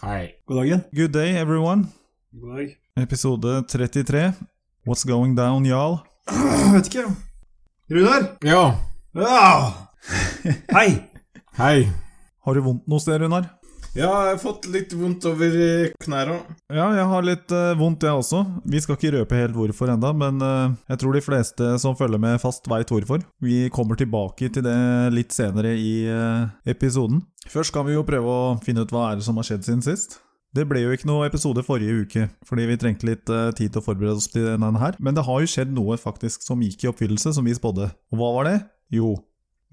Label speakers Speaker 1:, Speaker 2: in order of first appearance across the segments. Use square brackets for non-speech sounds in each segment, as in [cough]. Speaker 1: Hei.
Speaker 2: God dagen.
Speaker 3: Good day, everyone.
Speaker 2: God dag.
Speaker 3: Episode 33. What's going down, y'all?
Speaker 2: Vet ikke. Runar!
Speaker 1: Ja,
Speaker 2: [laughs] Ja! Ah! Hei!
Speaker 1: hei.
Speaker 3: Har du vondt noe sted, Runar?
Speaker 1: Ja, jeg har fått litt vondt over eh, knærne.
Speaker 3: Ja, jeg har litt eh, vondt, jeg også. Vi skal ikke røpe helt hvorfor enda, men eh, jeg tror de fleste som følger med fast veit hvorfor. Vi kommer tilbake til det litt senere i eh, episoden. Først kan vi jo prøve å finne ut hva er det som har skjedd siden sist. Det ble jo ikke noe episode forrige uke, fordi vi trengte litt eh, tid til å forberede oss til denne her. Men det har jo skjedd noe faktisk som gikk i oppfyllelse, som vi spådde. Og hva var det? Jo,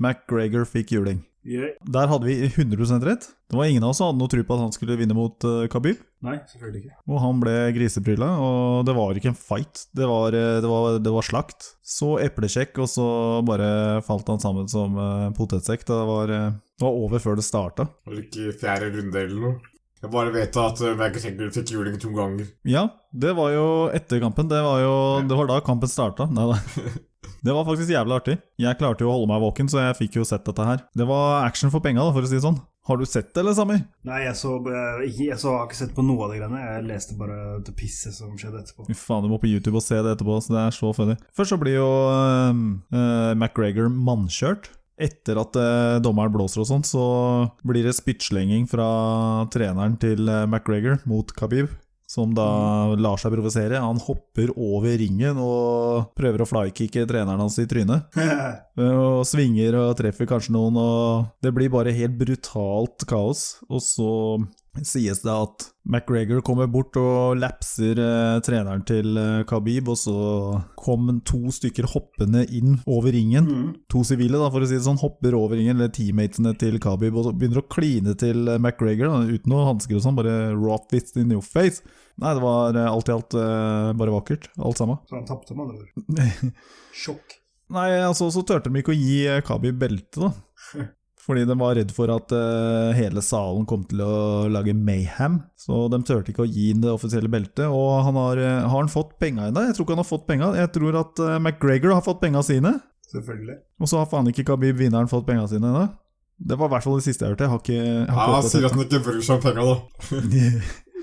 Speaker 3: McGregor fikk juling.
Speaker 2: Yeah.
Speaker 3: Der hadde vi 100 rett. Det var ingen av oss som hadde noe tro på at han skulle vinne mot eh, Khabib.
Speaker 2: Nei, selvfølgelig ikke.
Speaker 3: Og han ble grisebrylla, og det var ikke en fight. Det var, eh, det var, det var slakt. Så eplekjekk, og så bare falt han sammen som eh, potetsekk. Det var, eh, det var over før det starta.
Speaker 1: Var det ikke i fjerde runde eller noe? Jeg bare vet at eh, McGregor fikk juling to ganger.
Speaker 3: Ja, det var jo etter kampen. Det var jo Det var da kampen starta. Nei da. Det var faktisk jævlig artig. Jeg klarte jo å holde meg våken, så jeg fikk jo sett dette her. Det var action for penga, da, for å si det sånn. Har du sett det, eller, Sammy?
Speaker 2: Nei, jeg så, jeg, ikke- jeg så har ikke sett på noe av det greiene. Jeg leste bare det pisset som skjedde [laughs] etterpå.
Speaker 3: Fy faen, du må på YouTube og se det etterpå, så det er så funny. Først så blir jo eh, eh, McGregor mannkjørt. Etter at eh, dommeren blåser og sånn, så blir det spyttslenging fra treneren til eh, McGregor mot Khabib. Som da lar seg provosere. Han hopper over ringen og prøver å flykicke treneren hans i trynet. Eh, Og svinger og treffer kanskje noen, og det blir bare helt brutalt kaos. Og så sies det at McGregor kommer bort og lapser eh, treneren til eh, Khabib, og så kom to stykker hoppende inn over ringen.
Speaker 2: Mhm.
Speaker 3: To sivile, da, for å si det sånn, hopper over ringen, eller teammatene til Khabib, og så begynner å kline til eh, McGregor, da, uten noe hansker og sånn, bare raw fist in your face. Nei, det var eh, alt i alt eh, bare vakkert, alt sammen.
Speaker 2: Så han tapte med andre ord. [laughs] Sjokk.
Speaker 3: Nei, altså, så tørte de ikke å gi eh, Khabib belte, da.
Speaker 1: [laughs]
Speaker 3: Fordi de var redd for at eh, hele salen kom til å lage mayhem. Så de turte ikke å gi ham det offisielle beltet. Og han har, eh, har han fått penga ennå? Jeg tror ikke han har fått penga. Jeg tror at eh, McGregor har fått penga sine.
Speaker 2: Selvfølgelig.
Speaker 3: Og så har faen ikke Khabib, vinneren, fått penga sine ennå. Det var i hvert fall det siste jeg hørte. Jeg har ikke, jeg
Speaker 1: Ja,
Speaker 3: har
Speaker 1: han sier
Speaker 3: ikke
Speaker 1: at han ikke bryr seg om penga, da. [laughs]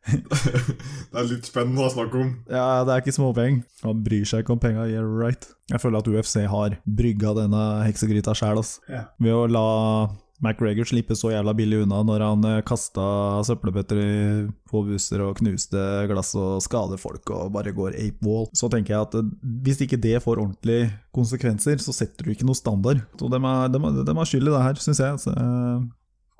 Speaker 3: [laughs] oppdatert.
Speaker 1: det er litt spennende å snakke om.
Speaker 3: Ja, det er ikke småpeng. Han bryr seg ikke om penga, yeah right. Jeg føler at UFC har brygga denne heksegryta sjæl, ass.
Speaker 2: Ja.
Speaker 3: Ved å la McGregor slippe så jævla billig unna når han eh, kasta søppelbøtter i- på busser og knuste glass og skader folk og bare går ape wall. Så tenker jeg at eh, hvis ikke det får ordentlige konsekvenser, så setter du ikke noe standard. Så de er, dem er, dem er skyld i det her, syns jeg. Så, eh,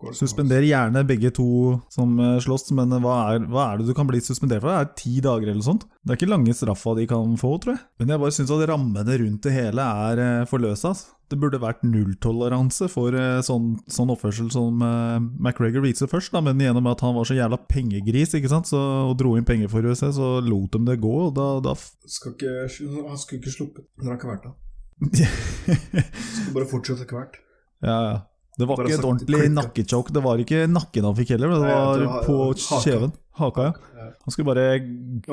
Speaker 2: Of course.
Speaker 3: Suspender gjerne begge to som eh, slåss, men hva er, hva er det du kan bli suspendert for? Det er ti dager eller sånt. Det er ikke lange straffa de kan få, tror jeg. Men jeg bare syns at rammene rundt det hele er eh, for løse. ass. Det burde vært nulltoleranse for eh, sånn, sånn oppførsel som eh, McGregor viser først, da, men gjennom at han var så jævla pengegris ikke sant? Så, og dro inn penger for USA, så lot de det gå. Og da, da f-
Speaker 2: Skal ikke, han skulle ikke sluppet. Det har ikke vært [laughs] det. Skulle bare fortsette ikke vært.
Speaker 3: Ja, ja. Det var
Speaker 2: Bare
Speaker 3: ikke et
Speaker 2: sagt
Speaker 3: ordentlig
Speaker 2: klipp, da.
Speaker 3: nakkechokk. Det var ikke nakken han fikk heller, men det
Speaker 2: Nei,
Speaker 3: var
Speaker 2: det var-
Speaker 3: på
Speaker 2: haka.
Speaker 3: kjeven. Haka, ja.
Speaker 2: Ja.
Speaker 3: Han skulle bare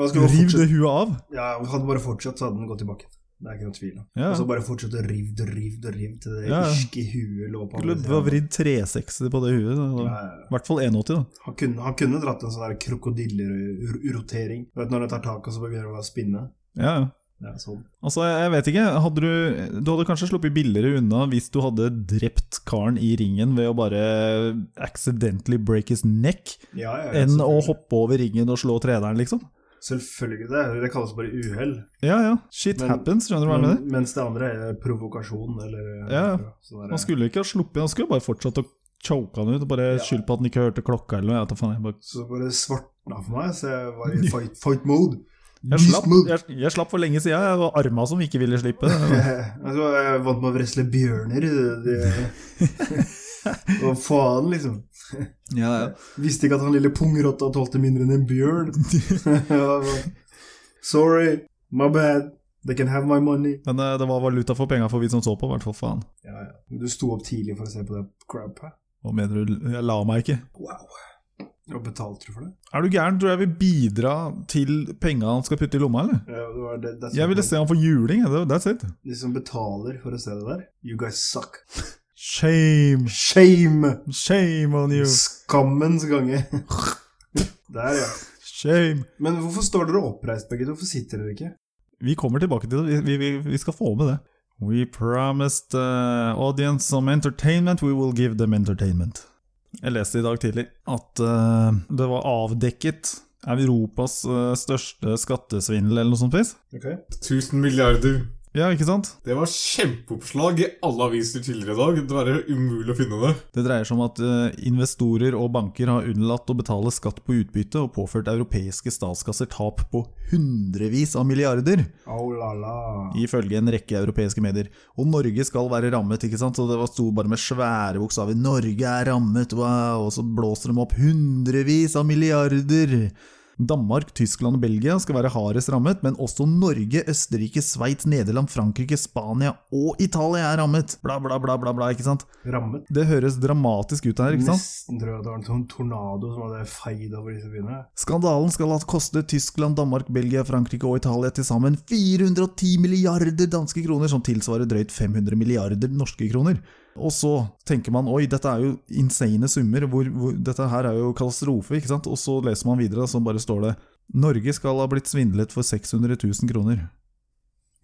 Speaker 2: han skulle
Speaker 3: rive
Speaker 2: fortsette.
Speaker 3: det huet av.
Speaker 2: Ja, hadde bare fortsatt, så hadde den gått tilbake. Det er ikke noe tvil om.
Speaker 3: Ja.
Speaker 2: Og så bare fortsette å rive det, rive det, rive til det
Speaker 3: Ja, ja.
Speaker 2: irske huet lå på
Speaker 3: Skulle
Speaker 2: andre
Speaker 3: ha
Speaker 2: siden.
Speaker 3: vridd 360 på det huet. så-
Speaker 2: Ja, ja, ja.
Speaker 3: I hvert fall 180, da.
Speaker 2: Han kunne, han kunne dratt en sånn der krokodillerotering. Du vet når den tar tak, og så begynner den å spinne.
Speaker 3: Ja, ja.
Speaker 2: Ja, sånn.
Speaker 3: Altså, jeg jeg vet ikke. Hadde du, du hadde kanskje sluppet billigere unna hvis du hadde drept karen i ringen ved å bare accidentally break his neck,
Speaker 2: Ja, ja, ja,
Speaker 3: enn å
Speaker 2: selvfølgelig.
Speaker 3: hoppe over ringen og slå treneren, liksom.
Speaker 2: Selvfølgelig. Det, det kalles bare uhell.
Speaker 3: Ja, ja. Shit
Speaker 2: Men-
Speaker 3: happens, skjønner du hva jeg mener?
Speaker 2: Men, mens det andre er provokasjon, eller
Speaker 3: Ja, ja.
Speaker 2: sånn der-
Speaker 3: Han skulle ikke ha sluppet, han skulle bare fortsatt å choke han ut. og Bare
Speaker 2: Ja.
Speaker 3: skyld på at han ikke hørte klokka eller noe. Jeg vet da faen, jeg bare
Speaker 2: Så bare svartna for meg, så jeg var i fight, fight mode.
Speaker 3: Jeg
Speaker 2: Beast
Speaker 3: slapp,
Speaker 2: mode.
Speaker 3: jeg, jeg slapp for lenge siden. Jeg var arma som ikke ville slippe.
Speaker 2: [laughs] Jeg tror jeg vant med å wrestle bjørner. Det, det.
Speaker 3: [laughs]
Speaker 2: Hva faen, liksom?
Speaker 3: [laughs] Ja, ja.
Speaker 2: Visste ikke at han lille pungrotta tålte mindre enn en bjørn. Ja, [laughs] hva- Sorry, my bad. They can have my money.
Speaker 3: Men eh, det var valuta for penga for vi som så på, i hvert fall. Faen.
Speaker 2: Ja, ja. Du sto opp tidlig for å se på det crap her.
Speaker 3: Hva mener du? Jeg la meg ikke.
Speaker 2: Wow. Og betalte du for det?
Speaker 3: Er du gæren? Tror du jeg vil bidra til penga han skal putte i lomma, eller?
Speaker 2: Ja, det var det, det er sånn
Speaker 3: Jeg ville se han få juling. jeg. Det- That's it.
Speaker 2: De som betaler for å se det der, you guys suck.
Speaker 3: Shame!
Speaker 2: Shame!
Speaker 3: Shame on you!
Speaker 2: Skammens gange. [laughs] Der, ja.
Speaker 3: Shame!
Speaker 2: Men hvorfor står dere oppreist, begge to? Hvorfor sitter dere ikke?
Speaker 3: Vi kommer tilbake til det. Vi, vi, vi skal få med det. We promised the audience some entertainment, we will give them entertainment. Jeg leste i dag tidlig at eh, det var avdekket Europas eh, største skattesvindel eller noe sånt. vis.
Speaker 1: 1000 milliarder.
Speaker 3: Ja, ikke sant?
Speaker 1: Det var kjempeoppslag i alle aviser tidligere i dag. Det var umulig å finne det.
Speaker 3: Det dreier seg om at eh, investorer og banker har unnlatt å betale skatt på utbytte og påført europeiske statskasser tap på hundrevis av milliarder,
Speaker 2: Au la la.
Speaker 3: ifølge en rekke europeiske medier. Og Norge skal være rammet, ikke sant? Så det var- sto bare med svære bokstaver 'Norge er rammet', wow! Og så blåser de opp hundrevis av milliarder! Danmark, Tyskland og Belgia skal være hardest rammet, men også Norge, Østerrike, Sveits, Nederland, Frankrike, Spania og Italia er rammet! Bla, bla, bla, bla, bla, ikke sant?
Speaker 2: Rammet.
Speaker 3: Det høres dramatisk ut her, ikke sant?
Speaker 2: Nesten tror jeg det var en sånn tornado som hadde feid over disse byene.
Speaker 3: Skandalen skal ha kostet Tyskland, Danmark, Belgia, Frankrike og Italia til sammen 410 milliarder danske kroner, som tilsvarer drøyt 500 milliarder norske kroner. Og så tenker man oi, dette er jo insane summer, hvor, hvor, dette her er jo katastrofe, ikke sant? Og så leser man videre, så bare står det Norge skal ha blitt svindlet for 600 000 kroner.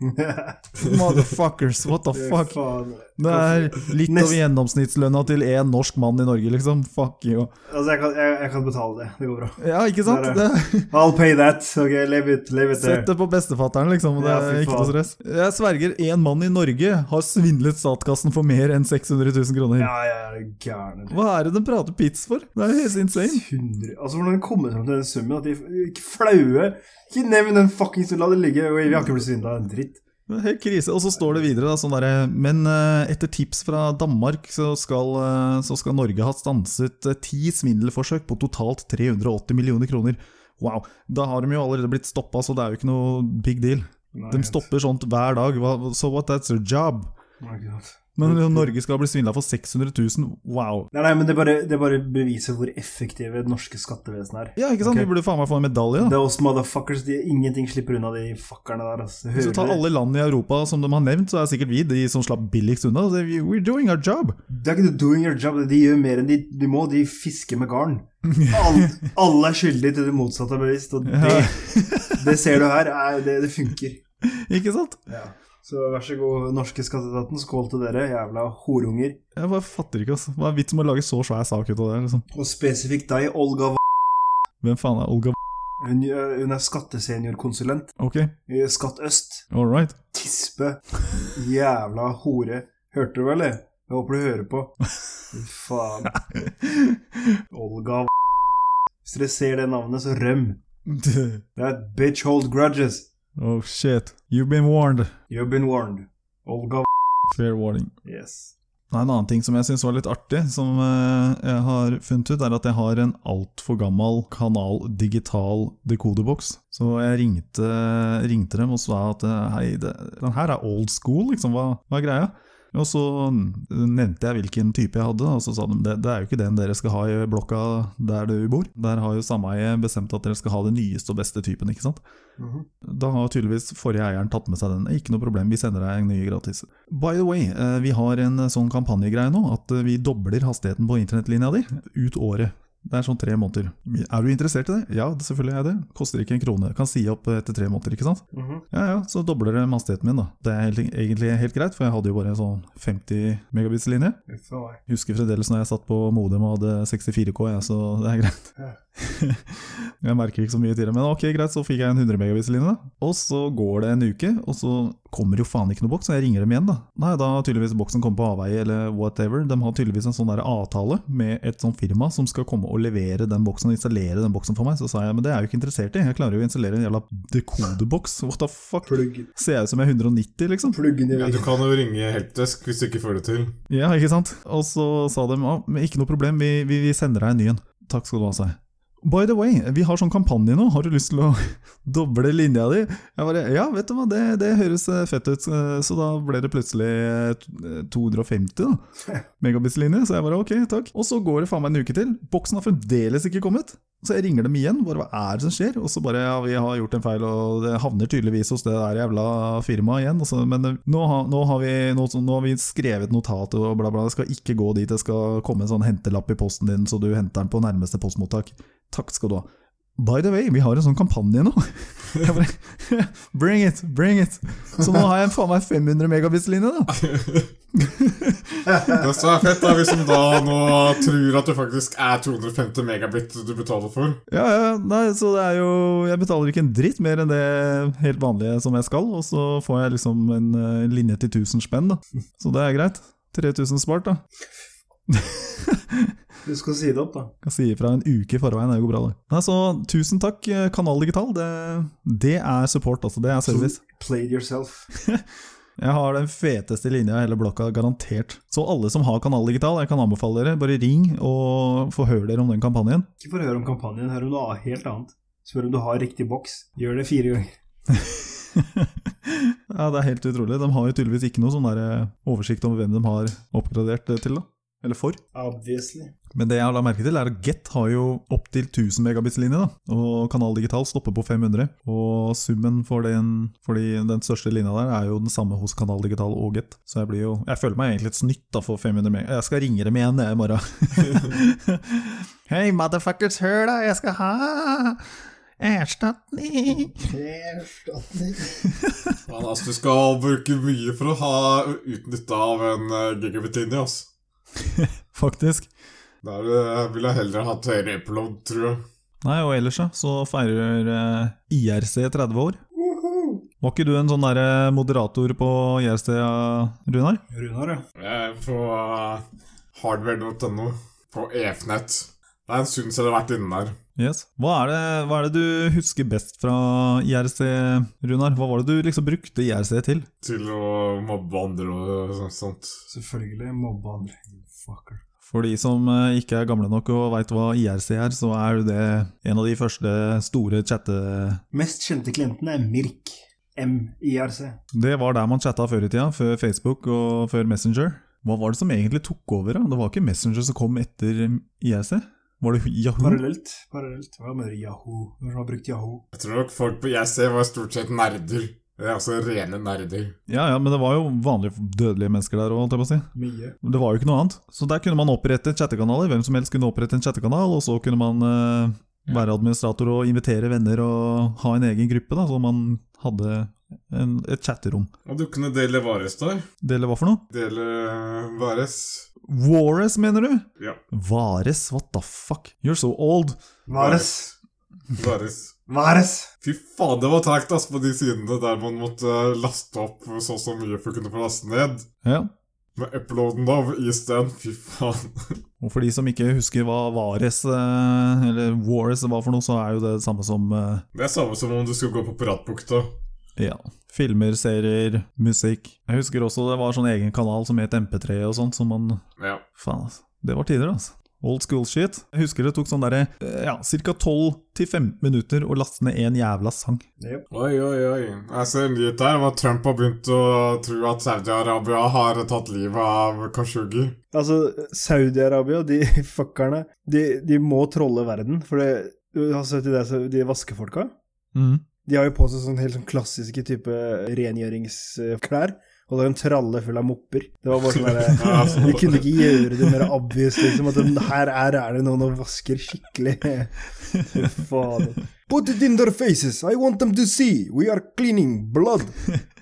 Speaker 2: [laughs]
Speaker 3: Motherfuckers, what the fuck?
Speaker 2: Faen.
Speaker 3: Det er litt over gjennomsnittslønna til én norsk mann i Norge, liksom. Fuck you.
Speaker 2: Altså, jeg kan, jeg, jeg kan betale det. Det går bra.
Speaker 3: Ja, ikke sant?
Speaker 2: Der
Speaker 3: Det,
Speaker 2: I'll pay that. Ok, live it, live it
Speaker 3: Sett
Speaker 2: there.
Speaker 3: det på bestefatteren, liksom. og Det
Speaker 2: Ja,
Speaker 3: er
Speaker 2: fy
Speaker 3: ikke noe
Speaker 2: faen.
Speaker 3: stress. Jeg sverger, én mann i Norge har svindlet statskassen for mer enn 600 000 kroner.
Speaker 2: Ja, jeg er gæren.
Speaker 3: Hva er det de prater pits for? Det er jo helt insane.
Speaker 2: 100 Altså, hvordan kommer de fram til den summen? At de ikke flaue Ikke nevn den fuckings La det ligge. Vi har ikke blitt svindla en dritt.
Speaker 3: Det er Helt krise. Og så står det videre da, sånn derre Men eh, etter tips fra Danmark så skal, eh, så skal Norge ha stanset eh, ti svindelforsøk på totalt 380 millioner kroner. Wow. Da har de jo allerede blitt stoppa, så det er jo ikke noe big deal.
Speaker 2: Nei,
Speaker 3: De stopper sånt hver dag. Hva- So what, that's their job.
Speaker 2: Nei, ikke sant.
Speaker 3: Men Norge skal bli svindla for 600 000. Wow.
Speaker 2: Nei, nei, men det bare, det bare beviser hvor effektive det norske skattevesenet er.
Speaker 3: Ja, ikke sant?
Speaker 2: Ok.
Speaker 3: Vi burde faen meg få en medalje.
Speaker 2: Det
Speaker 3: da.
Speaker 2: er oss motherfuckers. De, ingenting slipper unna de fuckerne der. Altså.
Speaker 3: Hvis du tar
Speaker 2: Hører du?
Speaker 3: alle land i Europa som de har nevnt, så er sikkert vi de som slapp billigst unna. Så vi- We're doing our job!
Speaker 2: Det er ikke du doing your job. De gjør mer enn de, de må. De fisker med garn. Alle, alle er skyldige til det motsatte er bevisst, og det, [laughs] det ser du her. Er, det, det funker.
Speaker 3: Ikke sant?
Speaker 2: Så vær så god, norske skatteetaten. Skål til dere, jævla horunger.
Speaker 3: Jeg bare fatter ikke, altså. Hva er vitsen med å lage så svær sak ut av det? liksom?
Speaker 2: Og spesifikt deg, Olga V.
Speaker 3: Hvem faen er Olga
Speaker 2: Hun, øh, hun er skatteseniorkonsulent
Speaker 3: Ok,
Speaker 2: i Skatt Øst.
Speaker 3: all right. [laughs]
Speaker 2: Tispe. Jævla hore. Hørte du, eller? Jeg håper du hører på. Fy Faen. Olga V. Hvis dere ser det navnet, så røm. Det er bitch hold grudges.
Speaker 3: oh shit. You've been warned.
Speaker 2: You've been warned. Olga V.
Speaker 3: Fair warning.
Speaker 2: Yes.
Speaker 3: Nei, En annen ting som jeg syns var litt artig, som eh, jeg har funnet ut, er at jeg har en altfor gammel kanal digital dekodeboks. Så jeg ringte, ringte dem og sa at eh, hei, det, den her er old school, liksom, hva, hva er greia? Og så nevnte jeg hvilken type jeg hadde, og så sa de det, det er jo ikke den dere skal ha i blokka der du bor. Der har jo sameiet bestemt at dere skal ha den nyeste og beste typen, ikke sant.
Speaker 2: Mhm.
Speaker 3: Da har tydeligvis forrige eieren tatt med seg den. Ikke noe problem, vi sender deg en ny gratis. By the way, eh, vi har en eh, sånn kampanjegreie nå, at eh, vi dobler hastigheten på internettlinja di ut året. Det er sånn tre måneder. Er du interessert i det? Ja, det- selvfølgelig er jeg det. Koster ikke en krone. Kan si opp eh, etter tre måneder, ikke sant?
Speaker 2: Mhm.
Speaker 3: Ja ja, så dobler det hastigheten min, da. Det er helt, egentlig helt greit, for jeg hadde jo bare en sånn 50 megabits-linje.
Speaker 2: Uff a meg.
Speaker 3: Husker fremdeles når jeg satt på modem og hadde 64K, jeg, så det er greit.
Speaker 2: Ja.
Speaker 3: [laughs] jeg merker ikke så mye til det, men ok, greit, så fikk jeg en 100 megabits-linje, da. Og så går det en uke, og så kommer jo faen ikke noe boks, og jeg ringer dem igjen, da. Nei, da har tydeligvis boksen kommet på avveie, eller whatever. De har tydeligvis en sånn der avtale med et sånt firma som skal komme og levere den boksen, og installere den boksen for meg. Så sa jeg, men det er jeg jo ikke interessert i, jeg klarer jo å installere en jævla dekodeboks, what the fuck?
Speaker 2: Plugg.
Speaker 3: Ser jeg ut som jeg er 190, liksom?
Speaker 2: Pluggen i
Speaker 1: Ja, du
Speaker 2: veggen.
Speaker 1: kan jo ringe Helpdesk hvis du ikke får det til. [laughs]
Speaker 3: Ja, ikke sant? Og så sa de «Ah, men ikke noe problem, vi, vi, vi sender deg en ny en. Takk skal du ha, sa jeg. By the way, vi har sånn kampanje nå, har du lyst til å [laughs] doble linja di? Jeg bare, ja, vet du hva, det, det høres eh, fett ut, Eh, så da ble det plutselig eh, 250 da, megabits-linje, så jeg bare ok, takk. Og så går det faen meg en uke til, boksen har fremdeles ikke kommet. Så jeg ringer dem igjen, bare hva er det som skjer? Og så bare ja, vi har gjort en feil, og det havner tydeligvis hos det der jævla firmaet igjen. Og så, men eh, nå har, nå, har vi, nå, nå har vi skrevet notat og bla, bla. Det skal ikke gå dit. Det skal komme en sånn hentelapp i posten din, så du henter den på nærmeste postmottak. Takk skal du ha. By the way, vi har en sånn kampanje nå. [laughs] Jeg bare, [laughs] bring it, bring it. Så nå har jeg faen meg 500 megabits-linje, da.
Speaker 1: Det som er fett, er hvis de da nå tror at det faktisk er 250 megabit du betaler for.
Speaker 3: Ja, ja, nei, så det er jo Jeg betaler ikke en dritt mer enn det helt vanlige som jeg skal, og så får jeg liksom en eh, linje til 1000 spenn, da. Så det er greit. 3000 spart, da.
Speaker 2: Du skal si det opp, da.
Speaker 3: Kan si ifra en uke i forveien, det går bra, det. Nei, så tusen takk, eh, Kanal Digital. Det, det er support, altså. Det er service.
Speaker 2: Played yourself.
Speaker 3: Jeg har den feteste linja i hele blokka, garantert. Så alle som har Kanal Digital, jeg kan anbefale dere, bare ring og forhør dere om den kampanjen.
Speaker 2: Ikke for å høre om kampanjen, hør om noe helt annet. Spør om du har riktig boks. Gjør det fire ganger.
Speaker 3: [laughs] Ja, det er helt utrolig. De har jo tydeligvis ikke noe sånn der eh, oversikt over hvem de har oppgradert eh, til, da. Eller for.
Speaker 2: Obviously.
Speaker 3: Men det jeg har la merke til, er at Get har jo opptil 1000 megabits-linje, da. Og Kanal Digital stopper på 500. Og summen for den, for de- den største linja der er jo den samme hos Kanal Digital og Get. Så jeg blir jo Jeg føler meg egentlig et snytt da for 500 meg... Jeg skal ringe dem igjen jeg, i morgen. [laughs] Hei, motherfuckers, hør da, jeg skal ha erstatning!
Speaker 1: Men, altså, du skal bruke mye for å ha utnytta av en eh, gigabit-linje, altså.
Speaker 3: Faktisk.
Speaker 1: Der eh, ville jeg heller hatt høyere upload, tror jeg.
Speaker 3: Nei, og ellers ja, så feirer eh, IRC 30 år. Var ikke du en sånn der eh, moderator på IRC, ja, Runar?
Speaker 2: Runar, ja.
Speaker 1: Eh, På eh, hardware.no. På E EFNett. Det er en stund siden jeg har vært inne der.
Speaker 3: Yes. Hva er, det, hva er det du husker best fra IRC, Runar? Hva var det du liksom brukte IRC til?
Speaker 1: Til å mobbe andre og sånt. sånt.
Speaker 2: Selvfølgelig mobbe andre. You Fucker.
Speaker 3: For de som eh, ikke er gamle nok og veit hva IRC er, så er jo det en av de første store chatte...
Speaker 2: Mest kjente klienten er Mirk. M-IRC.
Speaker 3: Det var der man chatta før i tida, før Facebook og før Messenger. Hva var det som egentlig tok over? da? Det var ikke Messenger som kom etter IRC? Var det Yahoo?
Speaker 2: Parallelt. Parallelt. Hva mener du? Yahoo? Hvem har brukt Yahoo?
Speaker 1: Jeg tror nok folk på IC var stort sett nerder. Det er altså rene nerder.
Speaker 3: Ja, ja, men det var jo vanlige dødelige mennesker der òg, holdt jeg på å si.
Speaker 2: Mye.
Speaker 3: Det var jo ikke noe annet. Så der kunne man opprette chattekanaler. Hvem som helst kunne opprette en chattekanal, og så kunne man eh, være administrator og invitere venner og ha en egen gruppe, da, så man hadde en, et chatterom.
Speaker 1: Og du kunne dele vares der.
Speaker 3: Dele hva for noe?
Speaker 1: Dele eh, vares.
Speaker 3: Wares, mener du?
Speaker 1: Ja.
Speaker 3: Vares, what the fuck? You're so old.
Speaker 2: Vares.
Speaker 1: Vares.
Speaker 2: Vares!
Speaker 1: Fy faen, det var tregt ass på de sidene der man måtte laste opp så og så mye for å kunne få laste ned.
Speaker 3: Ja.
Speaker 1: Med uploaden av isteden, fy faen.
Speaker 3: Og for de som ikke husker hva Vares, eh, eller Wares var for noe, så er jo det det samme som eh,
Speaker 1: Det er samme som om du skulle gå på Piratbukta.
Speaker 3: Ja. Filmer, serier, musikk. Jeg husker også det var sånn egen kanal som het MP3 og sånt, som man
Speaker 1: Ja.
Speaker 3: Faen, altså. Det var tider, altså. Old school shit. Jeg husker det tok sånn derre eh, ja, ca. 12-15 minutter å laste ned en jævla sang.
Speaker 2: Yep.
Speaker 1: Oi, oi, oi. Jeg ser en nyhet her om at Trump har begynt å tro at Saudi-Arabia har tatt livet av Khashoggi.
Speaker 2: Altså, Saudi-Arabia, de [laughs] fuckerne, de, de må trolle verden. For det, du har sett de, der, de vaskefolka? De har jo på seg sånn helt sånn klassiske type rengjøringsklær. Og det er en tralle full av mopper. Det var bare sånn derre
Speaker 1: [laughs] Ja, altså.
Speaker 2: [laughs] Vi kunne ikke gjøre det mer obvious, liksom. At den- her er, er det noen og vasker skikkelig. Fy Faen. Put it in their faces. I want them to see. We are cleaning blood.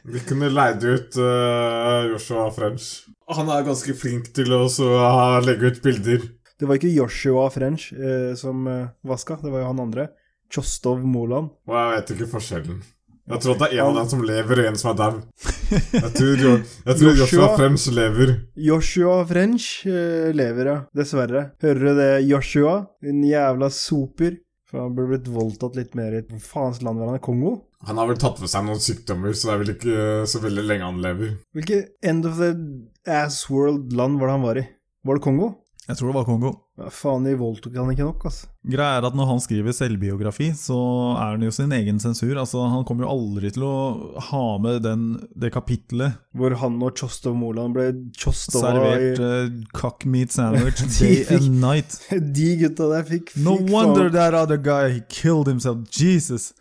Speaker 1: Vi kunne leid ut eh, Joshua French. Han er ganske flink til å så, eh, legge ut bilder.
Speaker 2: Det var ikke Joshua French eh, som eh, vaska, det var jo han andre. Tjostov Moland.
Speaker 1: Og jeg vet ikke forskjellen. Jeg tror at det er en av dem som lever, og en som er dau. Jeg tror, jo, jeg tror Joshua
Speaker 2: Joshua-
Speaker 1: French lever.
Speaker 2: Joshua French eh, lever, ja. Dessverre. Hører du det, Joshua? Din jævla soper. For han burde blitt voldtatt litt mer i Hvor faens land var han i Kongo?
Speaker 1: Han har vel tatt med seg noen sykdommer, så det er vel ikke eh, så veldig lenge han lever.
Speaker 2: Hvilket end of the ass world land var det han var i? Var det Kongo?
Speaker 3: Jeg tror det var Kongo.
Speaker 2: Ja, faen, de voldtok han ikke nok, altså.
Speaker 3: Greia er at når han skriver selvbiografi, så er han jo sin egen sensur. Altså, han kommer jo aldri til å ha med den, det kapitlet
Speaker 2: Hvor han og Tjostov Moland ble Tjostova
Speaker 3: servert
Speaker 2: i
Speaker 3: uh, cock meat sandwich day and night.
Speaker 2: [laughs] De gutta der fikk, fikk
Speaker 3: No wonder
Speaker 2: faen.
Speaker 3: that other guy he killed himself.
Speaker 2: [laughs]
Speaker 3: Jesus!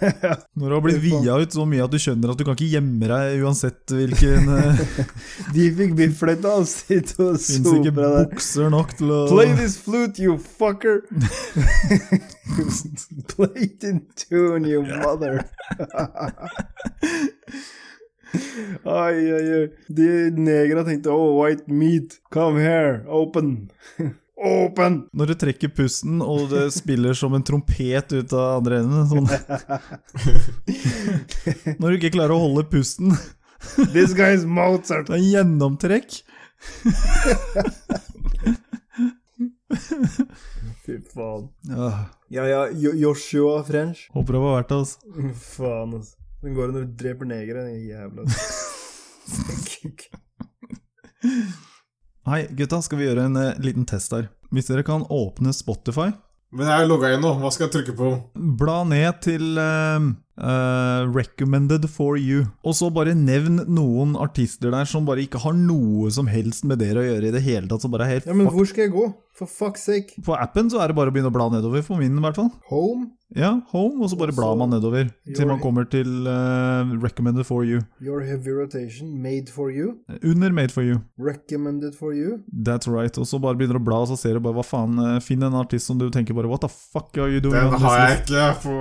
Speaker 3: Når du har blitt
Speaker 2: Fy faen.
Speaker 3: via ut så mye at du skjønner at du kan ikke gjemme deg uansett hvilken
Speaker 2: [laughs]
Speaker 3: eh,
Speaker 2: De fikk biffletta og sitt og
Speaker 3: Fins ikke
Speaker 2: sopra der.
Speaker 3: bukser nok til å
Speaker 2: Play this flute, you [laughs] fucker! Play it in tune, you mother! Oi, oi, oi. De negra tenkte Oh, white meat, come here, open! [laughs] open!
Speaker 3: Når du trekker pusten, og det spiller som en trompet ut av andre enden sånn.
Speaker 2: [laughs]
Speaker 3: Når du ikke klarer å holde pusten. [laughs]
Speaker 2: This guy is Mozart!
Speaker 3: Det er gjennomtrekk.
Speaker 2: [laughs] Fy faen.
Speaker 3: Ja,
Speaker 2: Ja, ja, Jo- Joshua French.
Speaker 3: håper det var verdt det, altså.
Speaker 2: Faen, altså. Den går under og dreper negere, den [laughs] jævla
Speaker 3: Hei, gutta, skal vi gjøre en eh, liten test her? Hvis dere kan åpne Spotify,
Speaker 1: Men jeg er logga inn nå. Hva skal jeg trykke på?
Speaker 3: bla ned til eh, eh, Recommended for you, og så bare nevn noen artister der som bare ikke har noe som helst med dere å gjøre i det hele tatt, som bare er helt
Speaker 2: Ja, men hvor skal jeg gå? For fuck's sake.
Speaker 3: På appen så er det bare å begynne å bla nedover, for min i hvert fall.
Speaker 2: Home?
Speaker 3: Ja, home, og så bare
Speaker 2: Og
Speaker 3: blar
Speaker 2: så-
Speaker 3: man nedover til man
Speaker 2: Gjør-
Speaker 3: kommer til eh, recommended for you.
Speaker 2: Your heavy rotation, made for you,
Speaker 3: Under made for you.
Speaker 2: recommended for you.
Speaker 3: That's right. Og så bare begynner du å bla, og så ser du bare hva faen eh, Finn en artist som du tenker bare What the fuck are you doing?
Speaker 1: Den
Speaker 3: on this
Speaker 1: har jeg
Speaker 3: list?»
Speaker 1: ikke på,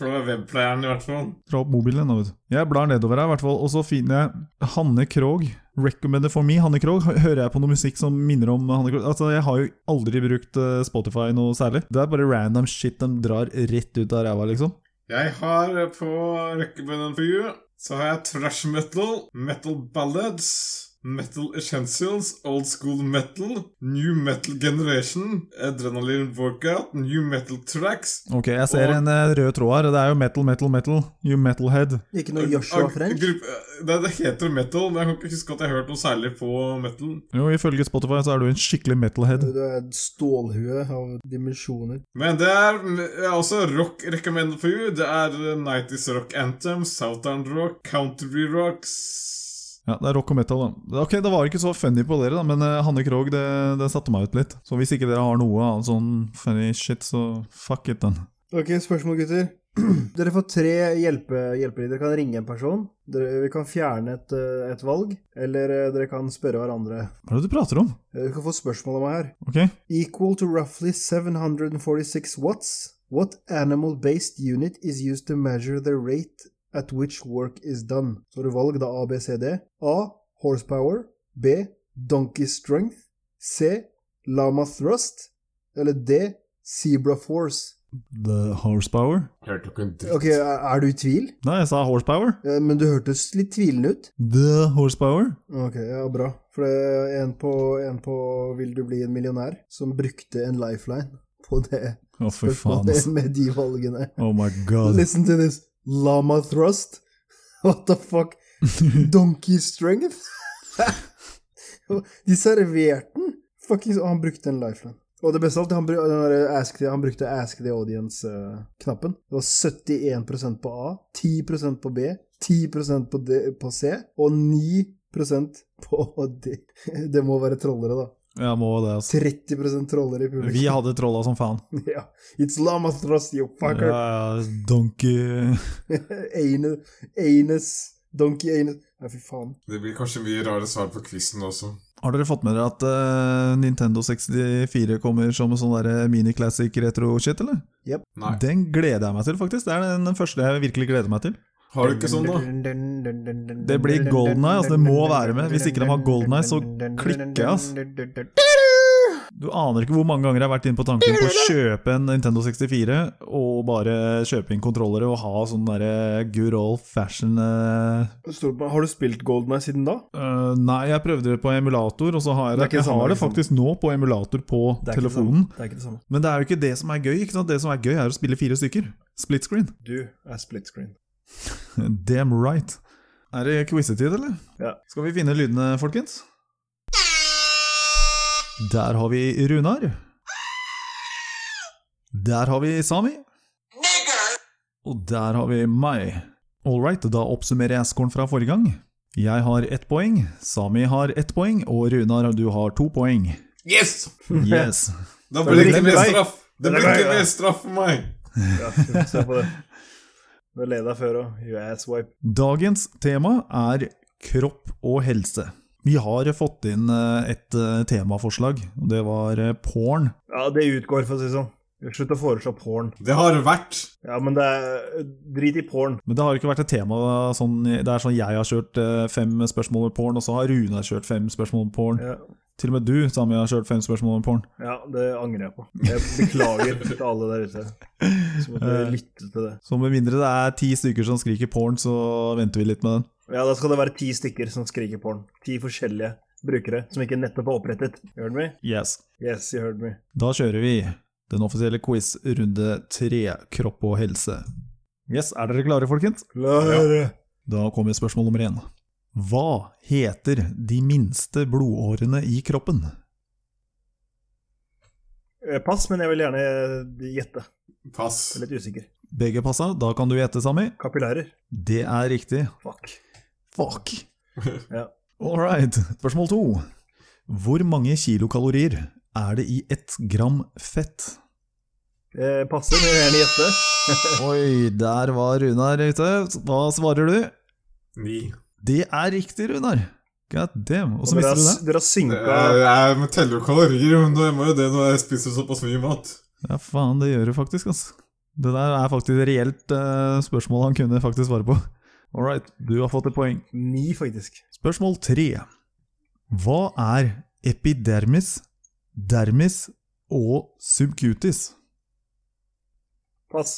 Speaker 1: på webplayeren, i hvert fall.
Speaker 3: Dra opp mobilen, da, vet du. Jeg blar nedover her, i hvert fall, og så finner jeg Hanne Krogh. Recommended for me, Hanne Krogh. Hø- Hører jeg på noe musikk som minner om Hanne Krogh? Altså, jeg har jo aldri brukt eh, Spotify noe særlig. Det er bare random shit de drar rett ut av ræva, liksom.
Speaker 1: Jeg har eh, på rekkebunnen for you, så har jeg trash metal, metal ballads, metal essentials, old school metal, new metal generation, adrenaline workout, new metal tracks,
Speaker 3: Ok, jeg ser
Speaker 1: Og-
Speaker 3: en eh, rød tråd her. og Det er jo metal, metal, metal. You metalhead.
Speaker 2: Ikke noe
Speaker 1: Ag-
Speaker 2: Joshua
Speaker 1: ag-
Speaker 2: French.
Speaker 1: gruppe- det, det heter metal, men jeg kan ikke huske at jeg har hørt noe særlig på metal.
Speaker 3: Jo, ifølge Spotify så er du en skikkelig metalhead.
Speaker 2: Du er et stålhue av dimensjoner.
Speaker 1: Men det er eh, også rock recommended for you. Det er eh, 90s rock anthem, southern rock, country rocks
Speaker 3: Ja, det er rock og metal, da. Ok, det var ikke så funny på dere, da, men eh, Hanne Krogh, det, det satte meg ut litt. Så hvis ikke dere har noe annet sånn funny shit, så fuck it, den.
Speaker 2: Ok, spørsmål, gutter. [clears throat] Dere får tre hjelpe, hjelpere. Dere kan ringe en person. Dere, vi kan fjerne et, eh, et valg. Eller eh, dere kan spørre hverandre.
Speaker 3: Hva er det du prater om?
Speaker 2: Eh, Dere kan få spørsmål av meg her.
Speaker 3: Ok?
Speaker 2: Equal to roughly 746 watts, what animal-based unit is used to measure the rate at which work is done? Så har du valg da A, B, C, D. A. Horsepower. B. Donkey strength. C. Lama thrust. Eller D. Zebra force.
Speaker 3: The horsepower?
Speaker 1: Hørte ikke en
Speaker 2: Ok, er er du i tvil?
Speaker 3: Nei, jeg sa horsepower.
Speaker 2: Eh, Men du hørtes litt tvilende ut.
Speaker 3: The horsepower?
Speaker 2: Ok, ja, bra. For det er en på, en på Vil du bli en millionær? som brukte en lifeline på det,
Speaker 3: Å,
Speaker 2: [laughs]
Speaker 3: fy
Speaker 2: på
Speaker 3: faen,
Speaker 2: det
Speaker 3: ass.
Speaker 2: med de valgene.
Speaker 3: Oh my god.
Speaker 2: Listen to this. Llama thrust? [laughs] What the fuck? Donkey strength? [laughs] De serverte den! Fuckings, og han brukte en lifeline. Og det beste av alt, han, bru- den der ask the, han brukte ask the audience-knappen. det var 71 på A, 10 på B, 10 på, D, på C, og 9 på [laughs] D. Det må være trollere, da.
Speaker 3: Ja, må det, ass.
Speaker 2: 30 trollere i publikum.
Speaker 3: Vi hadde trolla som faen.
Speaker 2: [laughs] ja. It's llama thrust, you
Speaker 3: Ja,
Speaker 2: fucker!
Speaker 3: ja, donkey
Speaker 2: Ane- Anus. Donkey anus. Nei, fy faen.
Speaker 1: Det blir kanskje mye rare svar på quizen også.
Speaker 3: Har dere fått med dere at eh, Nintendo 64 kommer som en sånn derre mini-classic retro-shit, eller?
Speaker 1: Nei.
Speaker 3: Den gleder jeg meg til, faktisk. Det er den, den første jeg virkelig gleder meg til.
Speaker 1: Har du ikke sånn, da?
Speaker 2: da?
Speaker 3: Det blir GoldenEye, altså, det må være med. Hvis ikke de har GoldenEye, så klikker jeg, ass. Du aner ikke hvor mange ganger jeg har vært inne på tanken på å kjøpe en Nintendo 64 og bare kjøpe inn kontrollere og ha sånn derre good old fashion eh,
Speaker 2: Stormann, har du spilt GoldenEye siden da?
Speaker 3: øh, Nei, jeg prøvde det på emulator, og så har
Speaker 2: Det er
Speaker 3: jeg det.
Speaker 2: ikke det
Speaker 3: Jeg
Speaker 2: samme,
Speaker 3: har det
Speaker 2: liksom.
Speaker 3: faktisk nå på emulator på
Speaker 2: Det er ikke det
Speaker 3: telefonen.
Speaker 2: samme. Det er ikke det samme.
Speaker 3: Men det er jo ikke det som er gøy. ikke sant? Det som er gøy, er å spille fire stykker. Split screen.
Speaker 2: Du er split screen.
Speaker 3: Damn right. Er det quizetid, eller?
Speaker 2: Ja.
Speaker 3: Skal vi finne lydene, folkens? Der har vi Runar. Der har vi Sami. Og der har vi meg. All right, da oppsummerer jeg scoren fra forrige gang. Jeg har ett poeng, Sami har ett poeng, og Runar, du har to poeng.
Speaker 1: Yes!
Speaker 3: Yes.
Speaker 1: Da blir det ikke
Speaker 2: blir
Speaker 1: mer
Speaker 2: det meg.
Speaker 1: straff. Det
Speaker 2: Det
Speaker 1: blir
Speaker 2: er meg,
Speaker 1: ikke
Speaker 2: ja.
Speaker 1: mer straff for meg.
Speaker 2: Ja, se på det. Du har leda før òg. You asswipe.
Speaker 3: Dagens tema er kropp og helse. Vi har fått inn eh, et eh, temaforslag, og det var eh, porn.
Speaker 2: Ja, det utgår, for å si det sånn. Slutt å foreslå porn.
Speaker 1: Det har vært
Speaker 2: Ja, men det er Drit i porn.
Speaker 3: Men det har ikke vært et tema sånn, Det er sånn jeg har kjørt eh, fem spørsmål om porn, og så har Rune kjørt fem spørsmål om porn.
Speaker 2: Ja,
Speaker 3: Til og med du, Sami, har kjørt fem spørsmål om porn.
Speaker 2: ja det angrer jeg på. Jeg beklager til alle der ute som
Speaker 3: [laughs]
Speaker 2: måtte
Speaker 3: Eh.
Speaker 2: lytte til det.
Speaker 3: Så med mindre det er ti stykker som skriker porn, så venter vi litt med den.
Speaker 2: Ja, da skal det være ti stykker som skriker porn. Ti forskjellige brukere som ikke nettopp er opprettet. You heard me?
Speaker 3: Yes.
Speaker 2: Yes, you heard me.
Speaker 3: Da kjører vi den offisielle quiz runde tre, kropp og helse. Yes, er dere klare, folkens?
Speaker 2: Klare.
Speaker 3: Da kommer spørsmål nummer én. Hva heter de minste blodårene i kroppen?
Speaker 2: Eh, Pass, men jeg vil gjerne eh, gjette.
Speaker 1: pass.
Speaker 2: Jeg er litt usikker.
Speaker 3: Begge passa, da kan du gjette, Sami.
Speaker 2: Kapillærer.
Speaker 3: Det er riktig.
Speaker 2: Fuck.
Speaker 3: Fuck!
Speaker 2: Ja.
Speaker 3: All right. Spørsmål to. Hvor mange kilokalorier er det i ett gram fett?
Speaker 2: Eh, passer, men jeg vil gjerne gjette.
Speaker 3: Oi, der var Runar ute. Hva svarer du?
Speaker 1: Ni.
Speaker 3: Det er riktig, Runar. God damn. Og så
Speaker 2: dere,
Speaker 3: visste
Speaker 2: har,
Speaker 3: du
Speaker 2: s-
Speaker 3: det?
Speaker 2: dere har
Speaker 1: Det
Speaker 2: synka
Speaker 1: er, jeg teller jo kalorier, men det må jo det når jeg spiser såpass mye mat.
Speaker 3: Ja, faen, det gjør du faktisk, ass. Det der er faktisk et reelt eh, spørsmål han kunne faktisk svare på. All right, du har fått et poeng.
Speaker 2: ni, faktisk.
Speaker 3: Spørsmål tre. Hva er epidermis, dermis og subcutis?
Speaker 2: Pass.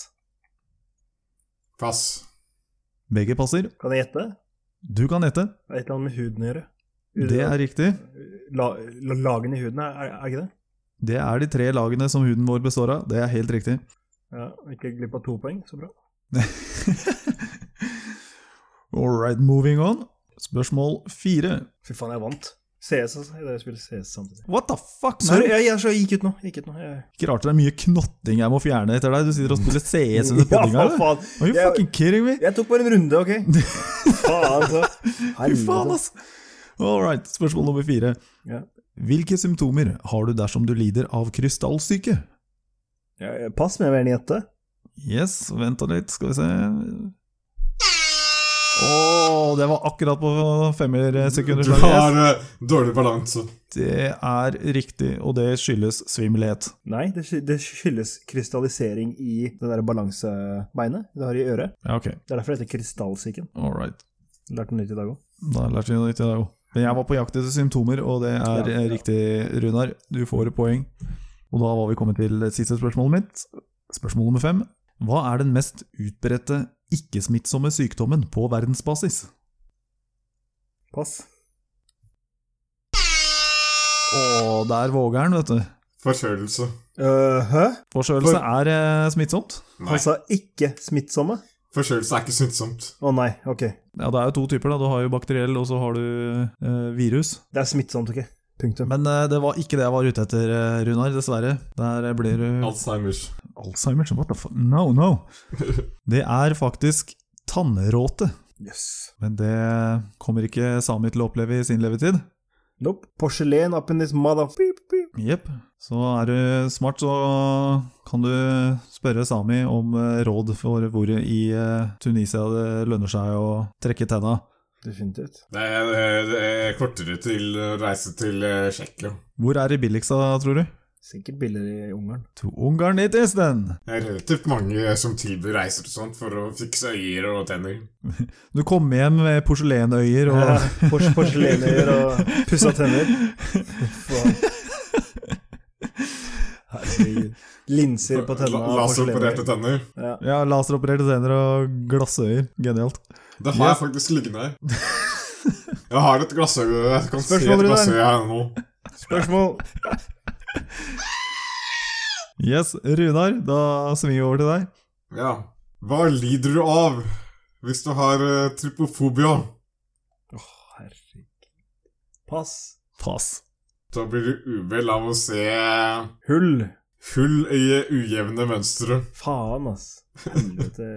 Speaker 1: Pass.
Speaker 3: Begge passer.
Speaker 2: Kan jeg gjette?
Speaker 3: Du kan gjette.
Speaker 2: Det er et eller annet med huden å gjøre.
Speaker 3: Det er riktig.
Speaker 2: La, la, lagene i huden, er, er- er ikke det?
Speaker 3: Det er de tre lagene som huden vår består av. Det er helt riktig.
Speaker 2: Ja, ikke glipp av to poeng, så bra.
Speaker 3: All right, moving on. Spørsmål fire.
Speaker 2: Fy faen, jeg vant. CS, altså. Dere spiller CS samtidig.
Speaker 3: What the fuck?
Speaker 2: Sorry,
Speaker 3: man?
Speaker 2: jeg, jeg, jeg gikk ut nå. Gikk ut nå. Jeg,
Speaker 3: Ikke rart det er mye knotting jeg må fjerne etter deg. Du sitter og
Speaker 2: [laughs]
Speaker 3: spiller CS under poddinga.
Speaker 2: for
Speaker 3: du.
Speaker 2: faen.
Speaker 3: Are you
Speaker 2: Jeg-
Speaker 3: fucking kidding me?
Speaker 2: Jeg tok bare en runde,
Speaker 3: [laughs]
Speaker 2: OK? faen, så.
Speaker 3: Fy faen,
Speaker 1: altså.
Speaker 3: ass! All right, spørsmål nummer fire.
Speaker 2: Ja.
Speaker 3: Hvilke symptomer har du dersom du lider av krystallsyke?
Speaker 2: Ja, ja, pass, men jeg vil gjerne gjette.
Speaker 3: Yes, vent da litt, skal vi se Åh, det var akkurat på
Speaker 1: Du
Speaker 3: femmersekunderslaget.
Speaker 1: har eh, dårlig balanse.
Speaker 3: Det er riktig, og det skyldes svimmelhet.
Speaker 2: Nei, det, sky- det skyldes krystallisering i det der balansebeinet du har i øret.
Speaker 3: Ja, ok.
Speaker 2: Det er derfor det heter krystallsyken.
Speaker 3: All right.
Speaker 2: Lærte noe nytt i dag òg.
Speaker 3: Da lærte vi noe nytt i dag òg. Men jeg var på jakt etter symptomer, og det er
Speaker 2: Ja,
Speaker 3: eh,
Speaker 2: ja.
Speaker 3: riktig, Runar. Du får et poeng. Og da var vi kommet til det siste spørsmålet mitt. Spørsmål nummer fem. Hva er den mest utbredte ikke-smittsomme sykdommen på verdensbasis?
Speaker 2: Pass.
Speaker 3: Og der våger han, vet du.
Speaker 1: Forkjølelse.
Speaker 2: Øh, hæ?
Speaker 3: Forkjølelse
Speaker 1: For-
Speaker 3: er eh, smittsomt.
Speaker 1: Nei.
Speaker 2: Han sa ikke smittsomme?
Speaker 1: Forkjølelse er ikke smittsomt.
Speaker 2: Å nei, ok.
Speaker 3: Ja, det er jo to typer, da. Du har jo bakteriell, og så har du eh, virus.
Speaker 2: Det er smittsomt, ok. Punktum.
Speaker 3: Men eh, det var ikke det jeg var ute etter, eh, Runar, dessverre. Der blir du
Speaker 1: Alzheimers.
Speaker 3: Alzheimer? What the fuck? No, no. Det er faktisk tannråte.
Speaker 2: Yes.
Speaker 3: Men det kommer ikke Sami til å oppleve i sin levetid.
Speaker 2: Nope. Porselen up in this mother... Beep, beep.
Speaker 3: Jepp. Så er du smart, så kan du spørre Sami om eh, råd for hvor i eh, Tunisia det lønner seg å trekke tenna.
Speaker 2: Definitivt.
Speaker 1: Det er, det er kortere til å reise til eh, Tsjekkia.
Speaker 3: Hvor er det billigst, da, tror du?
Speaker 2: Sikkert billigere i Ungarn.
Speaker 3: To Ungarn it is then!
Speaker 1: Det er relativt mange som tilbyr reiser og sånt for å fikse øyer og tenner.
Speaker 3: Du kommer hjem med porselenøyer og
Speaker 2: Ja, pors porselener og pussa tenner. Faen. Herregud. Linser på tenna
Speaker 1: La-
Speaker 2: og
Speaker 1: Laseropererte
Speaker 2: porselener.
Speaker 1: tenner.
Speaker 2: Ja.
Speaker 3: [laughs] ja, laseropererte tenner og glassøyer. Genialt.
Speaker 1: Det har jeg faktisk liggende her. Jeg har et glassøye. Jeg kan se
Speaker 2: Spørsmål,
Speaker 1: et
Speaker 2: Runar?
Speaker 1: glassøye her nå.
Speaker 2: Spørsmål?
Speaker 3: Yes, Runar, da svinger vi over til deg.
Speaker 1: Ja. Hva lider du av hvis du har eh, trypofobia?
Speaker 2: Åh, herregud. Pass.
Speaker 3: Pass.
Speaker 1: Da blir du uvel av å se
Speaker 2: Hull.
Speaker 1: hull i ujevne mønstre.
Speaker 2: Faen, ass. Helvete.